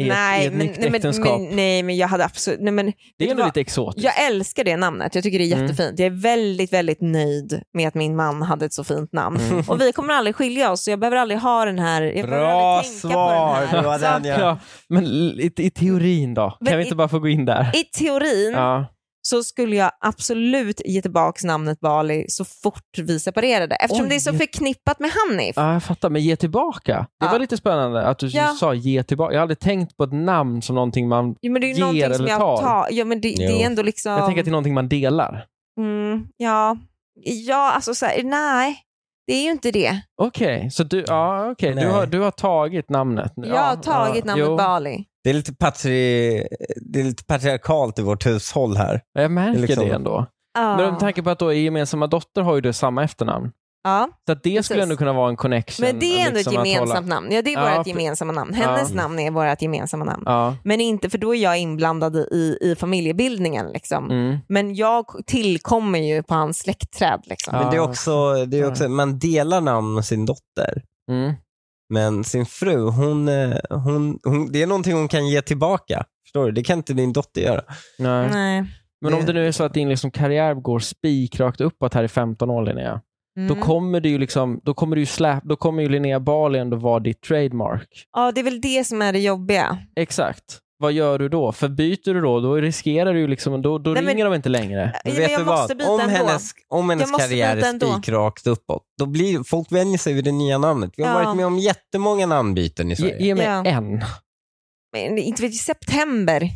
I ett, i ett nytt
nej, men,
äktenskap?
men, nej, men jag hade absolut... Nej, men,
det
vet
är
du
ändå
vad?
lite exotiskt.
Jag älskar det namnet. Jag tycker det är
Mm.
jättefint. Jag är väldigt, väldigt nöjd med att min man hade ett så fint namn.
Mm.
Och vi kommer aldrig skilja oss, så jag behöver aldrig ha den här... Jag behöver
bra
aldrig tänka På
svar!
den här.
Det var den jag...
Ja, men i, i teorin då?
Men
Kan vi
i-
inte bara få gå in där?
I teorin
Ja.
så skulle jag absolut ge tillbaka namnet Bali så fort vi separerade. Eftersom
Oj.
det är så förknippat med Hanif.
ja, jag fattar. Men ge tillbaka. Det
Ja.
var lite spännande att du
Ja.
sa ge tillbaka. Jag har aldrig tänkt på ett namn som någonting man...
Jo, men det är ju
Ger
någonting som
eller
jag
tar?
tar. Ja, men det, det
Jo.
är ändå liksom...
Jag tänker att det är någonting man delar.
mm, ja. ja, alltså så här, nej. Det är ju inte det.
Okej, så du, ja, okay.
Nej.
du, har, du har tagit namnet nu?
Jag har tagit namnet
jo.
Bali.
Det är lite, patri... det är lite patriarkalt i vårt hushåll här.
Ja, Jag märker
Liksom.
det ändå.
Ja.
Men med tanke på att då er gemensamma dotter har ju då samma efternamn.
ja.
Så att det skulle
Precis.
ändå kunna vara en connection.
Men det är ändå
liksom,
ett
att
gemensamt
hålla-
namn. Ja, det är
Ja,
vårt
pre-
gemensamma namn. Hennes
Ja.
namn är vårt gemensamma namn.
Ja.
Men inte, för då är jag inblandad i, i familjebildningen. Liksom.
Mm.
Men jag tillkommer ju på hans släktträd. Liksom.
Ja.
Men det är också, det är också man delar namn med sin dotter.
Mm.
Men sin fru, hon, eh, hon, hon, det är någonting hon kan ge tillbaka. Förstår du? Det kan inte din dotter göra.
Nej.
Nej.
Men om det nu är så att din liksom karriär går spikrakt uppåt här i 15 år Linnea,
Mm.
då kommer det ju liksom, då kommer du ju släp, då kommer ju Linnea Bali ändå vara ditt trademark.
Ja, det är väl det som är det jobbiga.
Exakt. Vad gör du då? För byter du då, då riskerar du ju liksom, då, då
Nej, men-
ringer de inte längre.
Men
vet
jag
du
måste
vad?
byta
Om
ändå.
hennes, om hennes
Jag måste
karriär
byta
är
ändå.
spikrakt uppåt, då blir, folk vänjer sig vid det nya namnet. Vi har
Ja.
varit med om jättemånga namnbyten i
Ge,
Sverige.
ge mig
Ja.
en.
Men, inte vet jag, september.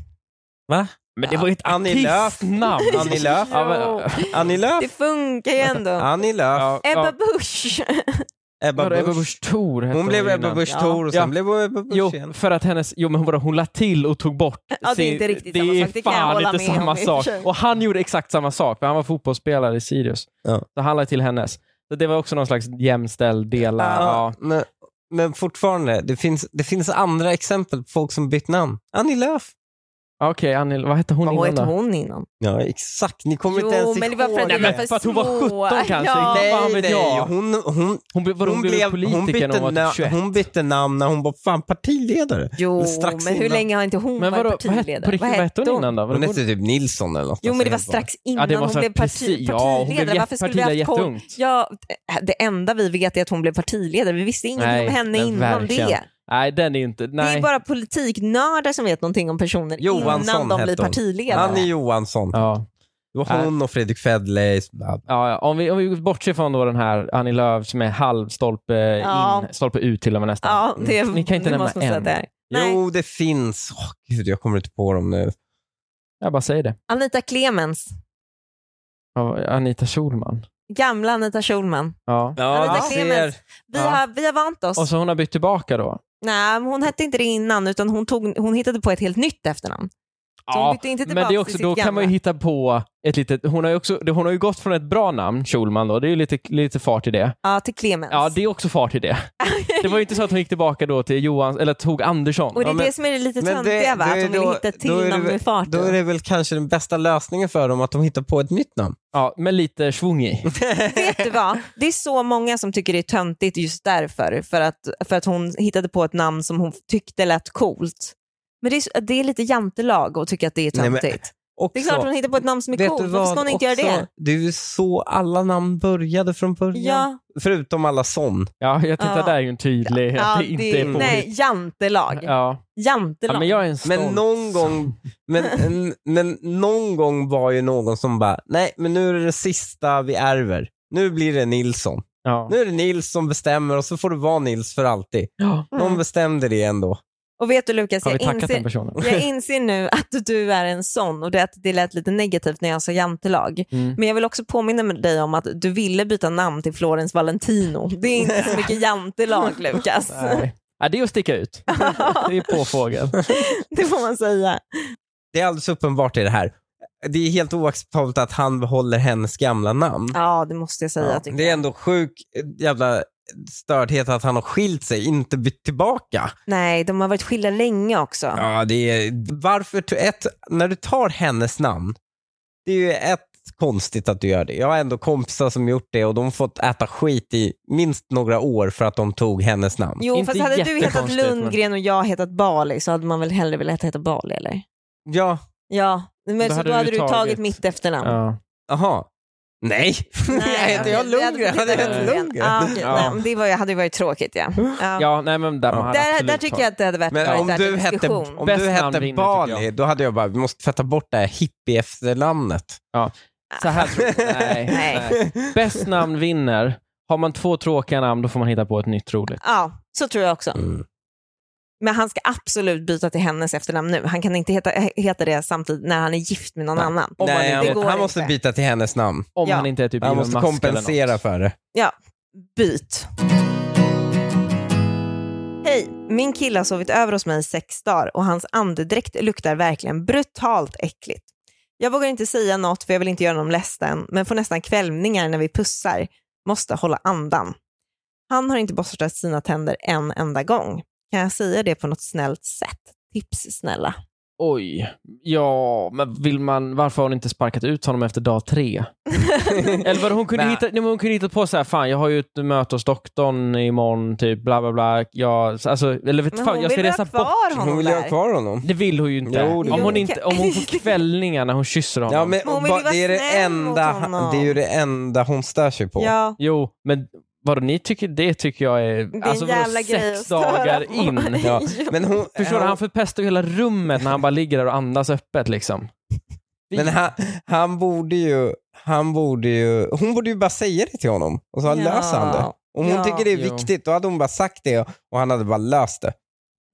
Va?
Men det var ju ett
Annie Lööf.
artistnamn.
Annie Lööf.
Ja, men-
Jo.
Annie Lööf.
Det funkar ju ändå.
Annie Lööf.
ja,
Ebba
ja.
Busch.
Ebba
Vadå,
Busch.
Ebba Busch Thor hette
Hon blev
ju
Ebba
innan.
Busch
Ja.
Thor och sen
Ja.
blev hon Ebba Busch
Jo,
igen.
för att hennes, jo men hon, bara, hon la till och tog bort.
Ja, det är
sin-
inte riktigt
det
samma
är
sak. Det kan jag
fan
hålla
inte
med om
samma
i och för
sak.
sig.
Och han gjorde exakt samma sak, för han var fotbollsspelare i Sirius.
Ja.
Så han la till hennes. Så det var också någon slags jämställd dela. Ja.
Ja, men, men fortfarande, det finns, det finns andra exempel på folk som bytt namn. Annie Lööf.
Okej, Annie, vad hette hon
Vad
innan
hette
då?
hon innan?
Ja, exakt. Ni kommer
Jo,
inte ens
men det
ihåg
var för att vi var
men för att hon var
små.
17 kanske.
Ja.
Nej, Fan
Nej,
vet
nej.
jag.
Hon, hon,
Hon, blev- vadå, hon, blev politiker när hon var
na-
typ 21.
hon bytte namn när hon var fan partiledare.
Jo,
Strax
men hur
innan.
länge har inte hon
men vadå,
varit
vad hette,
partiledare?
på riktigt, vad hette hon innan då? Vadå,
Hon hette typ Nilsson eller något.
Jo, men det var
Alltså, helt
strax innan
det
hon
måste
blev
varit
parti,
precis- ja, hon
partiledare.
blev jätte-
Varför skulle vi haft
partiledare
koll?
jätteungt.
Ja, det enda vi vet är att hon blev partiledare. Vi visste ingenting
Nej,
om henne
men
innan
verkligen.
det.
Nej, den är ju inte...
Det
Nej.
är bara politiknördar som vet någonting om personer
Johansson
innan de
hette
blir
hon. bara-
partiledare.
Annie Johansson.
Ja.
Det var hon och Fredrik Federley. Ja,
Ja, ja. Om, vi, om vi bortser från då den här Annie Lööf som är halv stolpe
Ja.
in, stolpe ut till och med nästan. Mm.
Ja, det,
Ni kan inte
det
nämna
måste man säga
en.
att det är. Nej.
Jo, det finns. Åh, Gud, jag kommer inte på dem nu.
Jag bara säger det.
Anita Clemens,
Ja, Anita Schulman.
gamla Anita Schulman.
Ja.
Ja,
Anita
du
Clemens.
ser.
Vi,
Ja.
har, vi har vant oss.
Och så hon har bytt tillbaka då?
Nej, men hon hette inte det innan utan hon, tog, hon hittade på ett helt nytt efternamn. Så hon bytte inte
men det är
tillbaka till
också,
sitt
då kan man ju
gamla.
hitta på ett litet... Hon har ju, också, hon har ju gått från ett bra namn, Schulman, då. det är ju lite, lite fart i det.
Ja, till Clemens.
Ja, det är också fart i det. Det var ju inte så att hon gick tillbaka då till Johan, eller tog Andersson.
Och det är
Ja, men-
det som är det lite
men det-
töntiga, va?
då
att
är
de vill
då-
hitta till
då är det
namn
väl-
med fart.
Då är det väl kanske den bästa lösningen för dem att de hittar på ett nytt namn.
Ja, men lite svung i.
Vet du vad? Det är så många som tycker det är töntigt just därför. För att, för att hon hittade på ett namn som hon tyckte lät coolt. Men det är, så- det är lite jantelag att tycka att det är
Nej, men-
töntigt.
Också,
det är klart hon hittar på ett namn som är
vet
coolt.
du
Varför ska
vad?
hon inte
Också,
göra det?
Det är ju så alla namn började från början.
Ja,
Förutom alla sån.
Ja, jag tittar
Ja.
där är ju en tydlig...
ja
att det inte är på
nej, jantelag.
Ja.
Jantelag.
ja, men jag är en stolt...
Men någon, gång, men, men- men någon gång var ju någon som bara, nej men nu är det det sista vi ärver. Nu blir det Nilsson.
Ja.
Nu är det Nils som bestämmer och så får det vara Nils för alltid.
Ja.
Någon bestämde det ändå.
Mm. Och vet du Lukas,
Har vi
jag
tackat den
inser,
personen?
jag inser nu att du är en sån och det, att det lät lite negativt när jag sa jantelag.
Mm.
Men jag vill också påminna med dig om att du ville byta namn till Florens Valentino. Det är inte så mycket jantelag Lukas.
Mm. Nej. Ja, det är att sticka ut. Det är påfågel.
Det får man säga.
Det är alldeles uppenbart i det här. Det är helt oacceptabelt att han behåller hennes gamla namn.
Ja, det måste jag säga. tycker
Det är
jag.
ändå sjuk jävla stördhet att han har skilt sig, inte bytt tillbaka.
Nej, de har varit skilda länge också.
Ja, det är... Varför, t- ett, när du tar hennes namn, det är ju ett konstigt att du gör det. Jag har ändå kompisar som gjort det och de har fått äta skit i minst några år för att de tog hennes namn.
Jo,
Inte
fast hade du hetat
jättekonstigt, men-
Lundgren och jag hetat Bali så hade man väl hellre velat heta Bali, eller?
Ja,
Ja, men
Då
så
hade
då
du
hade du tagit,
tagit
mitt efternamn.
Ja.
aha. Nej,
Nej,
heter jag
okej, det
Lundgren? Hade jag hetat Lundgren?
Ja, okej,
Ja.
nej, men det var ju, hade ju varit tråkigt. Ja. Ja.
ja, nej men där man hade
Där,
absolut
där tycker jag
tagit-
att det hade varit
Men
varit
om
värt
du
en
hette,
diskussion.
om
Bäst
du
namn
hette
vinner, tycker
Bali,
jag.
då hade jag bara, vi måste tvätta bort det här hippie-efternamnet.
Så här tror jag. Nej,
Nej.
nej. Bäst namn vinner. Har man två tråkiga namn då får man hitta på ett nytt roligt.
Ja, så tror jag också.
Mm.
Men han ska absolut byta till hennes efternamn nu. Han kan inte heta, heta det samtidigt när han är gift med någon
Nej.
annan.
Om,
Nej,
man,
han,
inte,
går
han måste
inte.
byta till hennes namn.
om
Ja.
han inte är typ
Han
Elon
måste
Musk eller något.
kompensera för det.
Ja, Byt. Hej! Min kille har sovit över hos mig i sex dagar och hans andedräkt luktar verkligen brutalt äckligt. Jag vågar inte säga något för jag vill inte göra honom ledsen men får nästan kvällningar när vi pussar. Måste hålla andan. Han har inte borstat sina tänder en enda gång. Kan jag säga det på något snällt sätt? Tips snälla.
Oj. Ja, men vill man, varför har hon inte sparkat ut honom efter dag tre? Eller vad hon kunde
Nej.
hitta, nej, men hon kunde hitta på så här, fan jag har ju ett möte hos doktorn imorgon, typ bla bla bla. Jag, alltså, eller vet
Men
fan,
hon
jag ska
vill
resa
ha
bort.
kvar honom
Hon vill ju ha
där.
kvar honom.
Det vill hon ju inte.
Jo, det
om,
vill
hon
hon.
inte om hon får kvällningar när hon kysser honom.
Ja, men,
Men hon vill ju
ba-
vara
det, är det,
snäll mot
enda,
honom.
det är ju det enda hon stör sig på.
Ja,
Jo, men vadå, ni tycker det tycker jag är...
det är en
alltså, vadå,
jävla grej att
sex
störa
dagar
på.
in.
Ja, Men, hon,
Förstår du? Han förpestar ju hela rummet när han bara ligger där och andas öppet liksom.
men han, han borde ju... Han borde ju, hon borde ju bara säga det till honom och så
Ja.
löser han det. Om hon
Ja.
tycker det är
Jo.
viktigt, då hade hon bara sagt det och han hade bara löst det.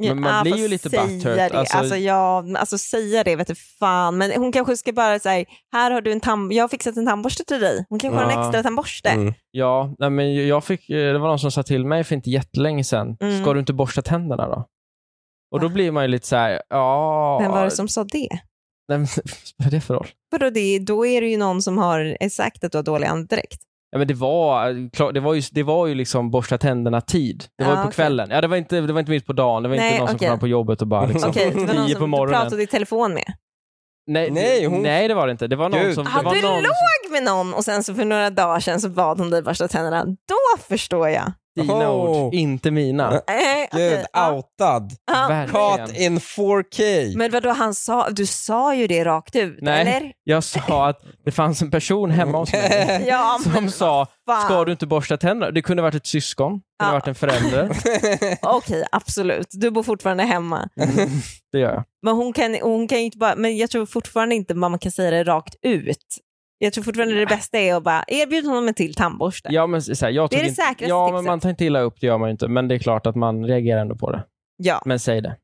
Men man
Ja, ah,
blir
fast
ju lite
säga
butthurt,
Det.
alltså-
Alltså, ja, men alltså säga det vet du fan. Men hon kanske ska bara säga, här har du en tand, jag har fixat en tandborste till dig. Hon kanske har en
Ja.
extra tandborste.
Mm.
Ja, nej, men jag fick, eh, det var någon som sa till mig för inte jättelänge sedan,
Mm.
ska du inte borsta tänderna då? Och då
Va?
blir man ju lite så här, ja...
Vem var det som sa det?
Nej, men Vad är det för roll?
Vadå, det, då är det ju någon som har sagt att du har dålig andedräkt.
Ja, men det, var, klar- det, var ju, det var ju liksom borsta tänderna-tid. Det var ju
Ja,
på
Ah, okej.
kvällen. Ja, det, var inte, det var inte mitt på dagen. Det var inte
Nej,
någon som
okej.
kom fram på jobbet och bara liksom,
Okej, det var någon
tio på
som du
morgonen.
pratade i telefon med.
Nej,
Nej, hon-
nej, det var det inte. Det var någon
Gud.
som... Det
Ah,
var
du
någon...
låg med någon och sen så för några dagar sedan så bad hon dig borsta tänderna. Då förstår jag.
Dina ord,
Oh.
inte mina.
Äh,
Gud, outad. Caught
Verkligen.
in 4K.
Men vadå, han sa, du sa ju det rakt ut,
Nej.
eller?
Jag sa att det fanns en person hemma hos mig
Ja,
som sa,
fan.
ska du inte borsta tänderna? Det kunde ha varit ett syskon, det kunde ha
Ja.
varit en förälder.
Okej, absolut. Du bor fortfarande hemma.
Det gör jag.
Men hon kan, hon kan ju inte bara, men jag tror fortfarande inte man kan säga det rakt ut. Jag tror fortfarande det bästa är att bara erbjuda honom en till tandborste.
Ja, men, så här, jag
Det är
tog
det
inte,
säkraste
Ja, men
tipset.
man tar inte illa upp, det gör man ju inte. Men det är klart att man reagerar ändå på det.
Ja.
Men säg det.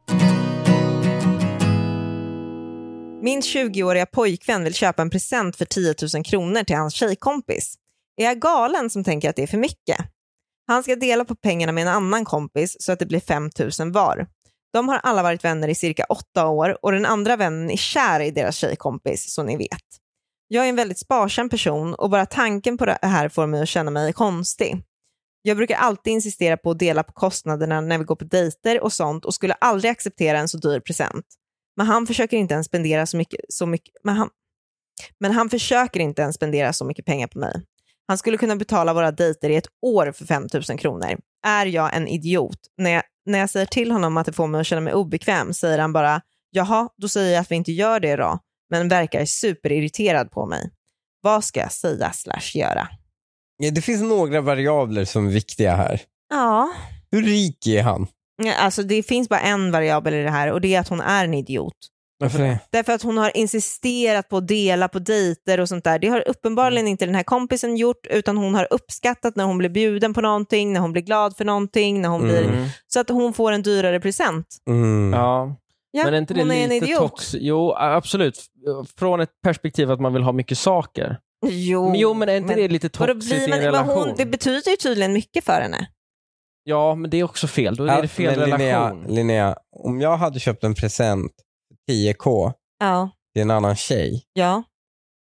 Min 20-åriga pojkvän vill köpa en present för 10 000 kronor till hans tjejkompis. Är jag galen som tänker att det är för mycket? Han ska dela på pengarna med en annan kompis så att det blir 5 000 var. De har alla varit vänner i cirka åtta år och den andra vännen är kär i deras tjejkompis, som ni vet. Jag är en väldigt sparsam person och bara tanken på det här får mig att känna mig konstig. Jag brukar alltid insistera på att dela på kostnaderna när vi går på dejter och sånt och skulle aldrig acceptera en så dyr present. Men han försöker inte ens spendera så mycket, så mycket men, han, men han försöker inte ens spendera så mycket pengar på mig. Han skulle kunna betala våra dejter i ett år för 5 000 kronor. Är jag en idiot? När jag, när jag säger till honom att det får mig att känna mig obekväm säger han bara jaha, då säger jag att vi inte gör det då, men verkar superirriterad på mig. Vad ska jag säga slash göra?
Ja, Det finns några variabler som är viktiga här.
Ja,
Hur rik är han?
alltså det finns bara en variabel i det här och det är att hon är en idiot.
Varför det?
Därför att hon har insisterat på att dela på dejter och sånt där. Det har
Mm.
uppenbarligen inte den här kompisen gjort utan hon har uppskattat när hon blir bjuden på någonting, när hon blir glad för någonting, när hon blir...
Mm.
Så att hon får en dyrare present.
Mm.
Ja.
Ja,
men är inte det
hon är en
lite
idiot.
tox- Jo, absolut. Från ett perspektiv att man vill ha mycket saker.
Jo,
Men jo, men är inte det lite
Oh, vadå,
toxiskt
blir
i en
man, men
relation?
hon, det betyder ju tydligen mycket för henne.
Ja, men det är också fel. Då är det fel
men Linnea,
relation.
Linnea, om jag hade köpt en present, 10k,
Ja.
till en annan tjej.
ja.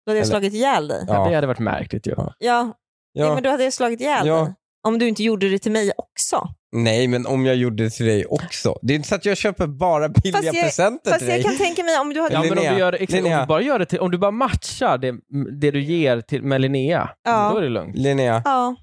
Då hade jag
Eller-
slagit ihjäl dig. Ja.
Ja.
Ja.
Det hade varit märkligt ju.
Ja.
Ja.
Ja.
men då hade jag slagit ihjäl
Ja.
dig. Om du inte gjorde det till mig också.
Nej, men om jag gjorde det till dig också. Det är inte så att jag köper bara billiga
Fast jag-
presenter
Fast
till
jag
dig.
kan tänka mig om du hade...
Ja, men om
Linnea,
du, gör, det- exakt, om du
Linnea.
bara gör det till, om du bara matchar det, det du ger till, med Linnea,
Ja.
då är det lugnt.
Linnea,
Ja,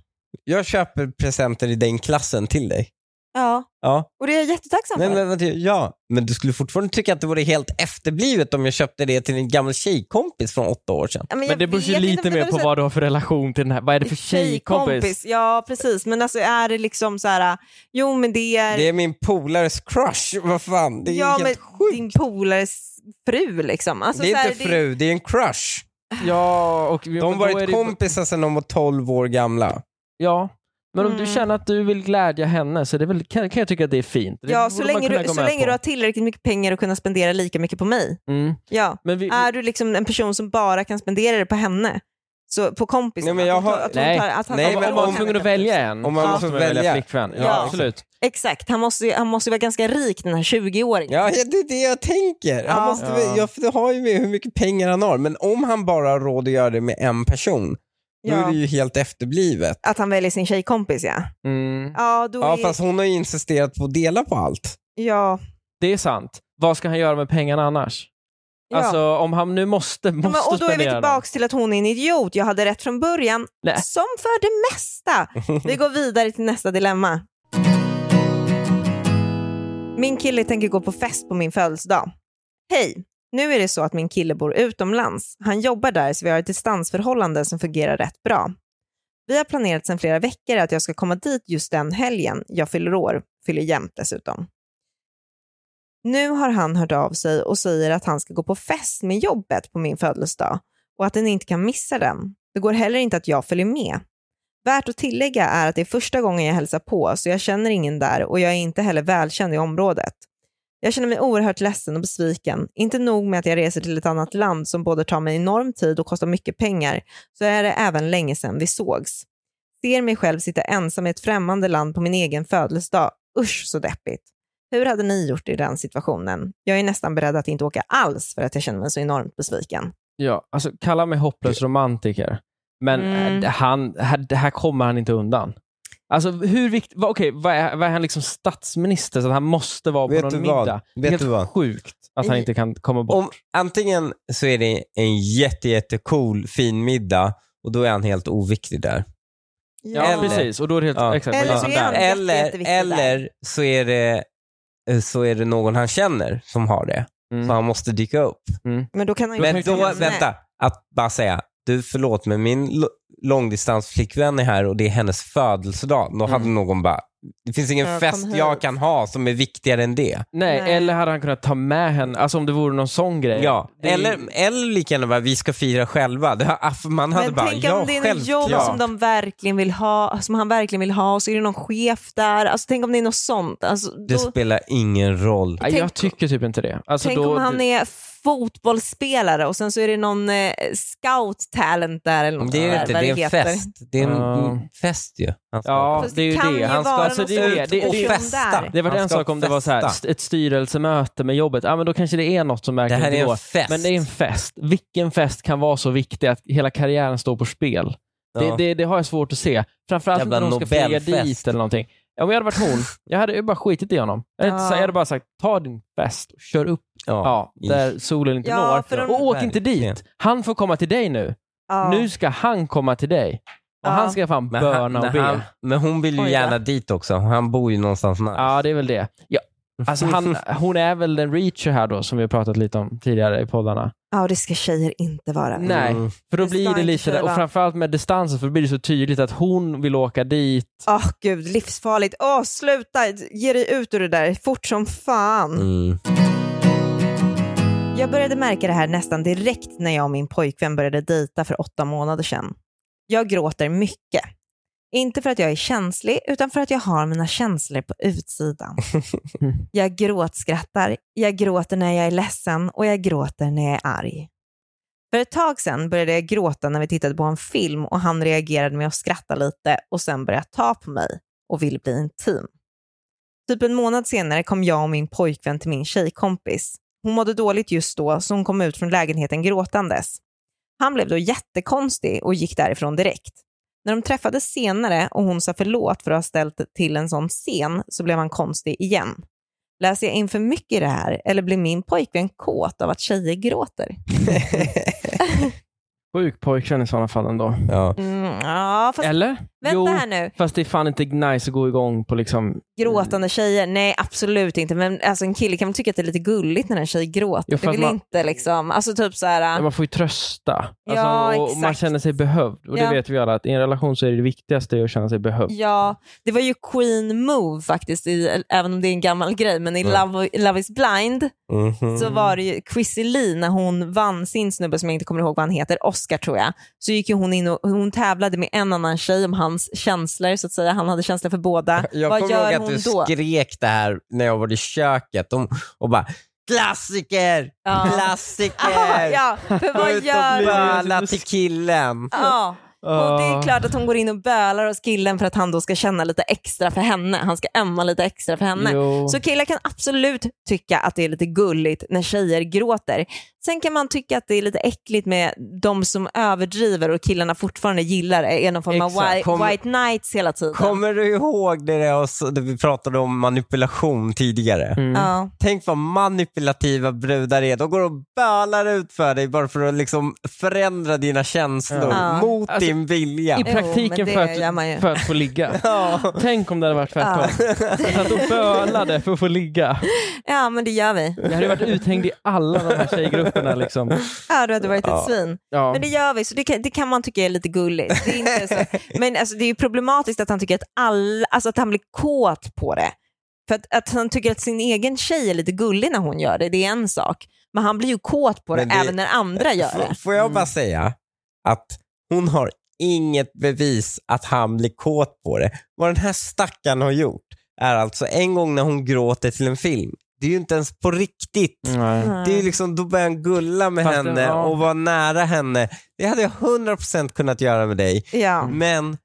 jag köper presenter i den klassen till dig.
ja.
Ja.
Och det är jag jättetacksam
Nej,
för.
men, vänta, ja, men du skulle fortfarande tycka att det vore helt efterblivet om jag köpte det till en gammal tjejkompis från åtta år sedan.
Ja, jag
Men det beror ju
vet inte
lite
om det
mer
var
på
så-
vad du har för relation till den här. Vad är det för tjejkompis?
Ja, precis. Men alltså är det liksom så här, jo men det är,
Det är min polares crush. Vad fan, det är
ja,
helt
men
sjukt.
din polares fru liksom. Alltså,
det
så
är
här,
inte fru, det är en crush.
Ja, och
De har varit kompisar sedan de var 12 år gamla.
Ja, men om
Mm.
du känner att du vill glädja henne så är det väl, kan, kan jag tycka att det är fint. Det
Ja,
borde
så
man
länge,
kunna
du,
gå
så
med
länge
på.
du har tillräckligt mycket pengar att kunna spendera lika mycket på mig.
Mm.
Ja.
Men vi,
Är du liksom en person som bara kan spendera det på henne, Så på kompisen,
Nej, men jag
att, hon
har-
tar, att,
Nej.
hon tar, att han
Nej,
om,
men
om man
om-
var tvungen att välja en,
om man
så
måste
måste man välja,
välja.
flickvän. Ja,
Ja.
absolut.
Exakt, han måste ju han måste ju vara ganska rik den här 20-åringen.
Ja, ja, det är det jag tänker. Han
Ja.
måste, väl- ja. för det har ju med hur mycket pengar han har. Men om han bara har råd att göra det med en person, då
Ja.
är det ju helt efterblivet.
Att han väljer sin tjejkompis ja.
Mm.
Ja, då
Ja,
är,
fast hon har ju insisterat på att dela på allt.
ja,
Det är sant. Vad ska han göra med pengarna annars?
ja.
Alltså om han nu måste,
Ja,
måste
men, och då är vi
spendera dem.
tillbaka till att hon är en idiot. Jag hade rätt från början.
Nej.
Som för det mesta. Vi går vidare till nästa dilemma. Min kille tänker gå på fest på min födelsedag. Hej! Nu är det så att min kille bor utomlands. Han jobbar där så vi har ett distansförhållande som fungerar rätt bra. Vi har planerat sedan flera veckor att jag ska komma dit just den helgen. Jag fyller år, fyller jämt dessutom. Nu har han hört av sig och säger att han ska gå på fest med jobbet på min födelsedag och att den inte kan missa den. Det går heller inte att jag följer med. Värt att tillägga är att det är första gången jag hälsar på så jag känner ingen där och jag är inte heller välkänd i området. Jag känner mig oerhört ledsen och besviken. Inte nog med att jag reser till ett annat land som både tar mig enorm tid och kostar mycket pengar så är det även länge sedan vi sågs. Ser mig själv sitta ensam i ett främmande land på min egen födelsedag. Usch så deppigt. Hur hade ni gjort i den situationen? Jag är nästan beredd att inte åka alls för att jag känner mig så enormt besviken.
Ja, alltså kalla mig hopplös romantiker, men
Mm.
eh, han, här, det här kommer han inte undan. Alltså hur viktigt, okej, vad är, vad är han liksom statsminister så att han måste vara på
Vet
någon
du vad?
middag? Det är
Vet
helt
du vad?
sjukt att han
I-
inte kan komma bort.
Om, antingen så är det en jätte, jätte cool, fin middag och då är han helt oviktig där.
ja,
eller-
precis. Och då är det helt,
Ja.
exakt,
Eller
vad gör
så
han
är han-
där?
jätte,
Eller,
jätteviktig
eller så, är det, så är det någon han känner som har det, så
Mm.
han måste dyka upp.
Men då kan han ju
Men
tänker
då,
jag-
vänta, att bara säga, du förlåt men min l- långdistansflickvän är här och det är hennes födelsedag. Då hade
Mm.
någon bara, det finns ingen
Ja, kom
fest
hit.
jag kan ha som är viktigare än det.
Nej,
Nej.
eller hade han kunnat ta med henne, alltså om det vore någon sån grej.
Ja,
Det är-
eller, eller lika gärna bara, vi ska fira själva. Det, har- man hade
Men
bara,
tänk
ja
om det är något jobb
självklart."
som, de verkligen vill ha, som han verkligen vill ha och så är det någon chef där. Alltså, tänk om det är något sånt. Alltså,
Det
då,
spelar ingen roll.
Nej, jag
tänk-
tycker typ inte det. Alltså,
tänk
då,
om han är fotbollsspelare och sen så är det någon eh, scout talent där eller något
Det
sånt
är
där,
inte,
vad
det är en
heter.
fest. Det är en
Ja.
mm, fest ju. Han ska-
Ja,
Fast
det är ju
kan
det.
ju
Han ska,
vara
alltså,
någon
det är det.
sorts
det, det,
och
det
person
festa.
där.
Det var
Han
en
ska
sak om det var så här,
festa.
st- ett styrelsemöte med jobbet. Ja, men då kanske det är något som
Det
verkligen
här är
går.
en fest.
Men det är en fest. Vilken fest kan vara så viktig att hela karriären står på spel? Det,
Ja.
det, det har jag svårt att se. Framförallt
Jävla
inte när hon ska flyga
Nobelfest.
dit eller någonting. Om jag hade varit hon, jag hade ju bara skitit i honom. Jag hade, inte
Ja.
sagt- jag hade bara sagt, ta din fest och kör upp
Ja.
ja, där solen inte
Ja, för
når.
de-
Och åk inte
Verkligen.
dit. Han får komma till dig nu.
Ja.
Nu ska han komma till dig. Och
Ja.
han ska fan
Men, han,
böna och
men,
be.
han, men hon vill ju
Oj då.
gärna dit också. Han bor ju någonstans nära.
Ja, det är väl det. Ja. Alltså han, hon är väl den reacher här då, som vi har pratat lite om tidigare i poddarna.
Ja, och det ska tjejer inte vara.
Nej,
Mm.
för då
Det ska
blir det
inte
lite, där, och
köra.
framförallt med distansen, för då blir det så tydligt att hon vill åka dit.
Åh gud, livsfarligt. Åh, sluta. Ge dig ut ur det där fort som fan.
Mm.
Jag började märka det här nästan direkt när jag och min pojkvän började dejta för åtta månader sedan. Jag gråter mycket. Inte för att jag är känslig, utan för att jag har mina känslor på utsidan. Jag gråtskrattar, jag gråter när jag är ledsen och jag gråter när jag är arg. För ett tag sedan började jag gråta när vi tittade på en film och han reagerade med att skratta lite och sen började ta på mig och ville bli intim. Typ en månad senare kom jag och min pojkvän till min tjejkompis. Hon mådde dåligt just då så hon kom ut från lägenheten gråtandes. Han blev då jättekonstig och gick därifrån direkt. När de träffades senare och hon sa förlåt för att ha ställt till en sån scen så blev han konstig igen. Läser jag in för mycket i det här eller blir min pojkvän kåt av att tjejer gråter?
Sjuk pojkvän i sådana fall ändå.
ja.
Mm, ja, fast
Eller?
vänta
jo,
här nu.
fast det är fan inte nice att gå igång på liksom...
Gråtande tjejer? Nej, absolut inte. Men alltså, en kille kan väl tycka att det är lite gulligt när en tj gråter?
Jo,
det
fast
vill
man-
inte liksom... Alltså typ så här...
Man får ju trösta. Alltså,
Ja,
och Man
exakt.
känner sig behövd. Och
Ja.
det vet vi alla, att i en relation så är det viktigaste att känna sig behövd.
Ja, det var ju Queen Move faktiskt, i, även om det är en gammal grej, men i
Mm.
Love, Love is blind
Mhm.
så var det ju Chrissy Lee när hon vann sin snubbe som jag inte kommer ihåg vad han heter, Oscar tror jag, så gick ju hon in och hon tävlade med en annan tjej om hans känslor så att säga, han hade känslor för båda.
Jag
vad
kommer ihåg
gör
att
hon
du
då?
skrek det här när jag var i köket och, och bara Klassiker!
Ja.
Klassiker!
ja, för vad
Ut och
gör hon?
böla till killen.
Ja. Och det är
Ah.
klart att hon går in och bölar hos killen för att han då ska känna lite extra för henne. Han ska ömma lite extra för henne.
Jo.
Så killar kan absolut tycka att det är lite gulligt när tjejer gråter. Sen kan man tycka att det är lite äckligt med de som överdriver och killarna fortfarande gillar är är någon form av
Exakt.
white,
Kommer-
white knights hela tiden.
Kommer du ihåg det, där oss- det vi pratade om manipulation tidigare?
Ja.
Tänk vad manipulativa brudar är. De går och bölar ut för dig bara för att liksom förändra dina känslor
Ja.
mot
Alltså,
din vilja.
I
Jo,
praktiken
men det
för,
gör man ju.
att, för att få ligga.
Ja.
Tänk om det hade varit tvärtom. Jag satt och bölade för att få ligga.
ja, men det gör vi.
Jag hade ju varit uthängd i alla de här tjejgrupperna. Liksom.
Ja, du hade varit ett
Ja.
svin.
Ja.
Men det gör vi, så det kan, det kan man tycka är lite gulligt. Det är inte så. Men alltså, det är ju problematiskt att han tycker att, all, alltså, att han blir kåt på det. För att, att han tycker att sin egen tjej är lite gullig när hon gör det, det är en sak. Men han blir ju kåt på det,
Men det-
även när andra gör det.
F- får jag bara säga att hon har inget bevis att han blir kåt på det. Vad den här stackaren har gjort är alltså en gång när hon gråter till en film. Det är ju inte ens på riktigt.
Nej.
Mm.
Det är ju liksom, då börjar han gulla med
Fast det-
henne
ja.
och vara nära henne. Det hade jag 100% kunnat göra med dig.
Ja.
Men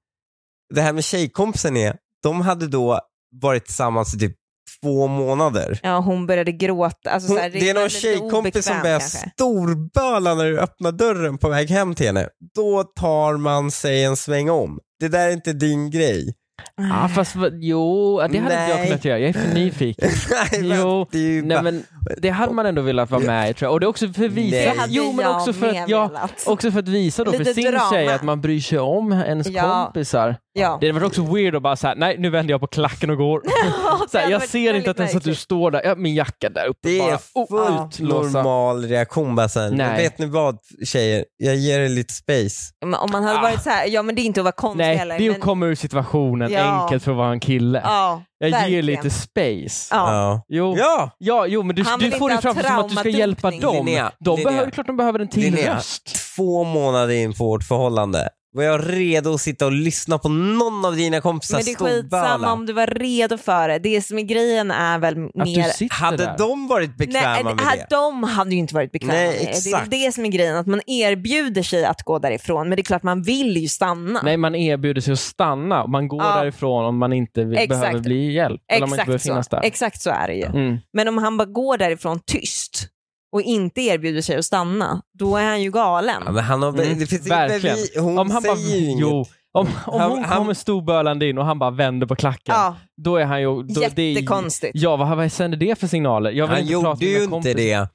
det här med tjejkompisen är, de hade då varit tillsammans i typ två månader.
ja, hon började gråta. Alltså,
Hon,
så här,
det är någon
lite
tjejkompis som
obekvämt
börjar
kanske.
storböla när du öppnar dörren på väg hem till henne. Då tar man sig en sväng om. Det där är inte din grej.
Mm.
Ah, fast, vad- jo, det hade inte jag
Nej.
kunnat göra. Jag är för nyfiken.
Nej, men
Jo,
det är ju
Nej,
bara-
men det hade man ändå velat vara med i tror jag. Och det är också för att
Nej.
visa,
Det hade
jo, men
jag
också för
med
att, ja,
velat.
också för att visa då för
Lite
sin
drama.
tjej att man bryr sig om ens
Ja.
kompisar.
Ja.
Det var också weird att bara såhär, nej nu vänder jag på klacken och går.
det
så här,
hade
jag
varit
ser
väldigt
inte att ens att du
märkligt.
står där, ja, min jacka där uppe
Det
bara.
är
Ah,
oh,
fullt
utlåsa.
normal reaktion bara sen.
Nej.
Vet ni vad tjejer, jag ger er lite space.
Men Om man hade
Ah.
varit så här, ja men det är inte att vara konstig
Nej,
heller.
det är att
men-
komma ur situationen
Ja.
enkelt för att vara en kille.
ja,
jag ger
verkligen.
lite space.
Ja. Oh.
Ja.
Jo. Ja.
ja.
jo men du,
Han
du
vill
får
inte
det
ha
framför som att du ska
traumadumpning.
hjälpa dem.
Linnea,
de
Linnea.
behöver, klart de behöver en till
Linnea.
röst.
Två månader in på vårt förhållande var jag redo att sitta och lyssna på någon av dina kompisar
Men det är skitsamma
storböla.
om du var redo för det. Det som är grejen är väl
Att du
mer...
sitter
Hade
där.
de varit bekväma
Nej,
med
här-
det?
De hade ju inte varit bekväma
Nej,
med det. Det är
exakt.
det som är grejen, att man erbjuder sig att gå därifrån. Men det är klart man vill ju stanna.
Nej, man erbjuder sig att stanna och man går
Ja.
därifrån om man inte vill,
Exakt.
behöver bli hjälpt. Eller om man inte behöver
Exakt så.
finnas där.
Exakt så är det ju.
Mm.
Men om han bara går därifrån tyst och inte erbjuder sig att stanna, då är han ju galen.
Ja, men han har,
Mm,
det finns
verkligen.
inte vi, hon
Om han
säger
bara,
ju inget.
jo, om, om
Han-
hon
han-
kommer storbölande in och han bara vänder på klacken,
Ja,
då är han ju... Då, det är,
jättekonstigt.
ja, vad, vad sänder det för signaler? Jag vill
Han
inte prata
gjorde
med
ju
mina
inte
kompisar.
det.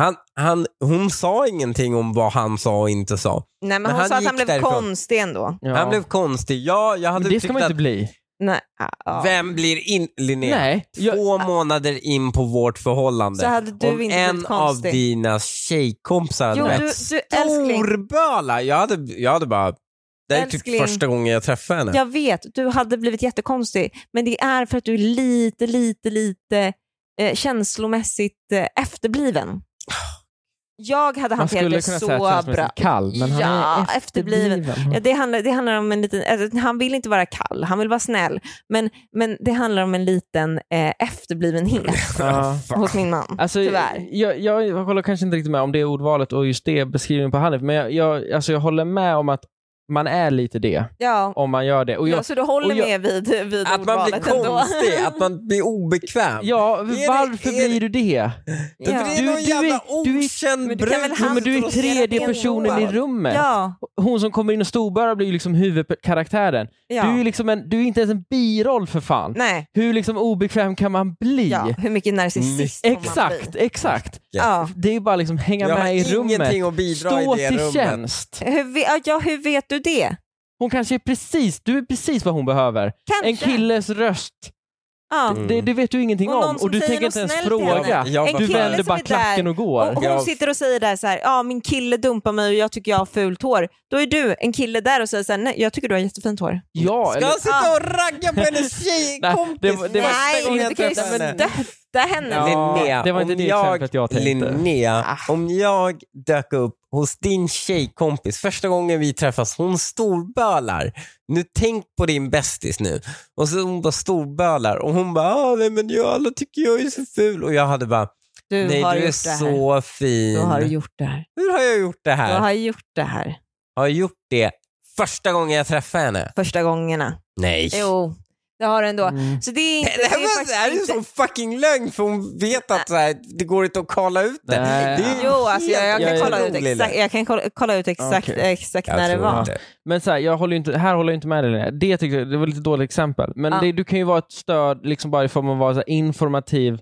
Han, han, hon sa ingenting om vad han sa och inte sa.
Nej, men,
Men
hon
han
sa att
gick
han blev
därifrån.
konstig ändå.
Ja.
Han blev konstig. Ja, jag hade
Men det ska
tyckt
man
att
inte bli.
Nej, ja, ja.
vem blir in, Linnea?
Nej. Jag,
Två månader in på vårt förhållande.
Så hade du
om
inte
en
blivit
av
konstig.
dina tjejkompisar hade
Jo,
varit
du- du, älskling.
storböla. Jag hade, jag hade bara, det här är
Älskling.
typ första gången jag träffade henne.
Jag vet, du hade blivit jättekonstig, men det är för att du är lite, lite, lite eh, känslomässigt eh, efterbliven. Jag hade
Ah. man skulle
hanterat
kunna
det
säga
så
att det
bra.
är kall, men han
Ja,
är efterbliven.
efterbliven. Ja, det, handlar, det handlar om en liten, alltså, han vill inte vara kall, han vill vara snäll, men, men det handlar om en liten eh, efterblivenhet
Ja.
hos min man.
Alltså,
Tyvärr.
Jag, jag håller kanske inte riktigt med om det ordvalet och just det beskrivningen på Hanif, men jag, jag, alltså jag håller med om att man är lite det
Ja,
om man gör det. Och jag,
ja, så du håller
och jag-
med vid, vid
Att man blir
ordvalet ändå?
konstig, att man blir obekväm.
ja,
det-
varför
är det-
blir du det?
Det
Ja.
är
Du-
någon
du är-
jävla
du är-
okänd
men du
brud.
kan väl
som
Jo, men du är
står och
tredje
spelar
personen i
piano.
rummet.
Ja,
Hon som kommer in och storbölar blir ju liksom huvudkaraktären.
ja.
Du, är ju liksom en, du är inte ens en biroll för fan.
Nej,
Hur liksom obekväm kan man bli?
ja. hur mycket narcissist får man bli?
Exakt, exakt.
Ja.
Det är ju bara liksom hänga
Jag har
med i rummet.
ingenting att bidra
Stå
i det
till
rummet.
tjänst.
Hur, ve- ja, hur vet du det?
Hon kanske är precis, du är precis vad hon behöver.
Kanske.
En killes röst,
Ja.
Mm.
det, det vet du ingenting
Och någon
om
som
och du
säger
tänker inte
något
ens
snällt till henne.
fråga.
Jag
En
bara-
Du
kille
vänder
som
bara
är där.
klacken och
Och
går.
och hon
Jag-
sitter och säger där så här, ja min kille dumpar mig och jag tycker jag har fult hår. Då är du en kille där och säger så här, nej jag tycker du har jättefint hår.
Ja,
Ska
eller-
han sitta och ragga på hennes tjejkompis?
Nej, det var- det var-
Nästa
nej,
gång
inte
jag
kan ju
träffar henne.
stötta henne.
Ja,
Linnea,
det var inte
om
det
jag-
exemplet jag tänkte.
Linnea, om jag dök upp hos din tjejkompis första gången vi träffas, hon storbölar. Nu tänk på din bästis nu. Och så hon bara storbölar och hon bara, ah, nej men jag, alla tycker jag är så ful. Och jag hade bara,
Du
Nej,
har
du är
gjort det här.
så fin.
Du har gjort det här.
Hur har jag gjort det
Du
här?
har gjort det här.
Har jag gjort det första gången jag träffade henne?
Första gångerna.
Nej.
Jo, det har du ändå.
Mm.
Så det är inte...
Mm. Det här,
är
var, det här är
faktiskt
ju
inte-
så fucking lögn för hon vet att så här, det går inte att kolla ut det.
Nej.
det är ju
Jo, alltså jag, jag,
helt
kan kolla ut
otroligt.
exakt, jag kan kolla, kolla ut exakt,
Okej.
exakt
Jag
när det
tror
var.
inte.
Men så här, jag håller ju inte, här håller jag inte med dig Linnea. Det, tycker jag, det var lite dåligt exempel. Men
Ja.
det, du kan ju vara ett stöd liksom bara i form av att vara så här informativ.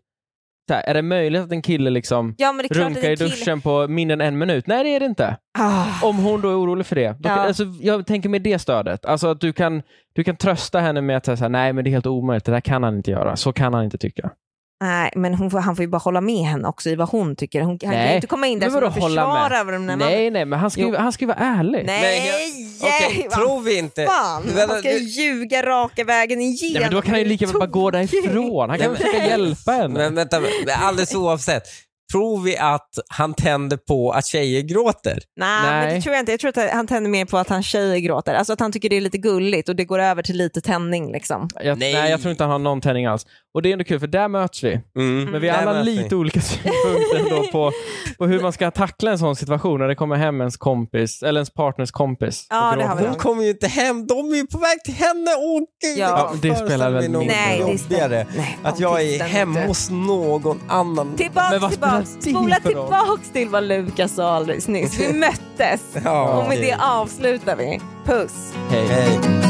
Så här, är det möjligt att en kille liksom
Ja, men det är klart att
runkar i
en kille...
duschen på mindre än en minut? Nej, det är det inte.
Ah,
Om hon då är orolig för det. Då kan,
Ja.
alltså, jag tänker med det stödet. Alltså att du kan, du kan trösta henne med att säga så här, nej men det är helt omöjligt, det där kan han inte göra. Så kan han inte tycka.
nej, men hon får, han får ju bara hålla med henne också i vad hon tycker. Hon, han kan ju
Nej,
inte komma in där
men
som
vadå
och
hålla med?
försvara vad de där
Nej, nej, men han ska, ju,
Jo.
han ska ju vara ärlig.
Nej,
Men jag- Okej,
vad
tror vi inte.
fan.
Men-
Han ska ju ljuga raka vägen igenom.
Nej, men då kan han ju lika väl bara gå därifrån. Han kan väl
Nej,
försöka hjälpa henne.
Men vänta, men alldeles oavsett. Tror vi att han tänder på att tjejer gråter?
Nej, men
Nej.
det tror jag inte. Jag tror att han tänder mer på att han tjejer gråter. Alltså att han tycker det är lite gulligt och det går över till lite tändning liksom.
Jag,
Nej.
nej. jag tror inte han har någon tändning alls. Och det är ändå kul, för där möts vi.
Mm.
Men vi har alla lite olika synpunkter ändå på, på hur man ska tackla en sån situation när det kommer hem ens kompis, eller ens partners kompis. och
Ja, det
gråter.
har vi
Hon kommer ju inte hem, de är ju på väg till henne. Åh gud, jag
Ja.
kan
Ja, det
föreställa
spelar
mig
väl
något
mindre
Nej, det
jobbigare.
stämmer. Nej,
Att
ja,
jag
det
är
stämmer
hemma
inte.
hos någon annan.
Men
Tillbaks,
vad spelar
tillbaks.
det
Spola
för roll?
tillbaks till vad Lukas sa alldeles nyss. Vi möttes.
Ja,
Och med
okej.
det avslutar vi. Puss.
Hej.
Hej.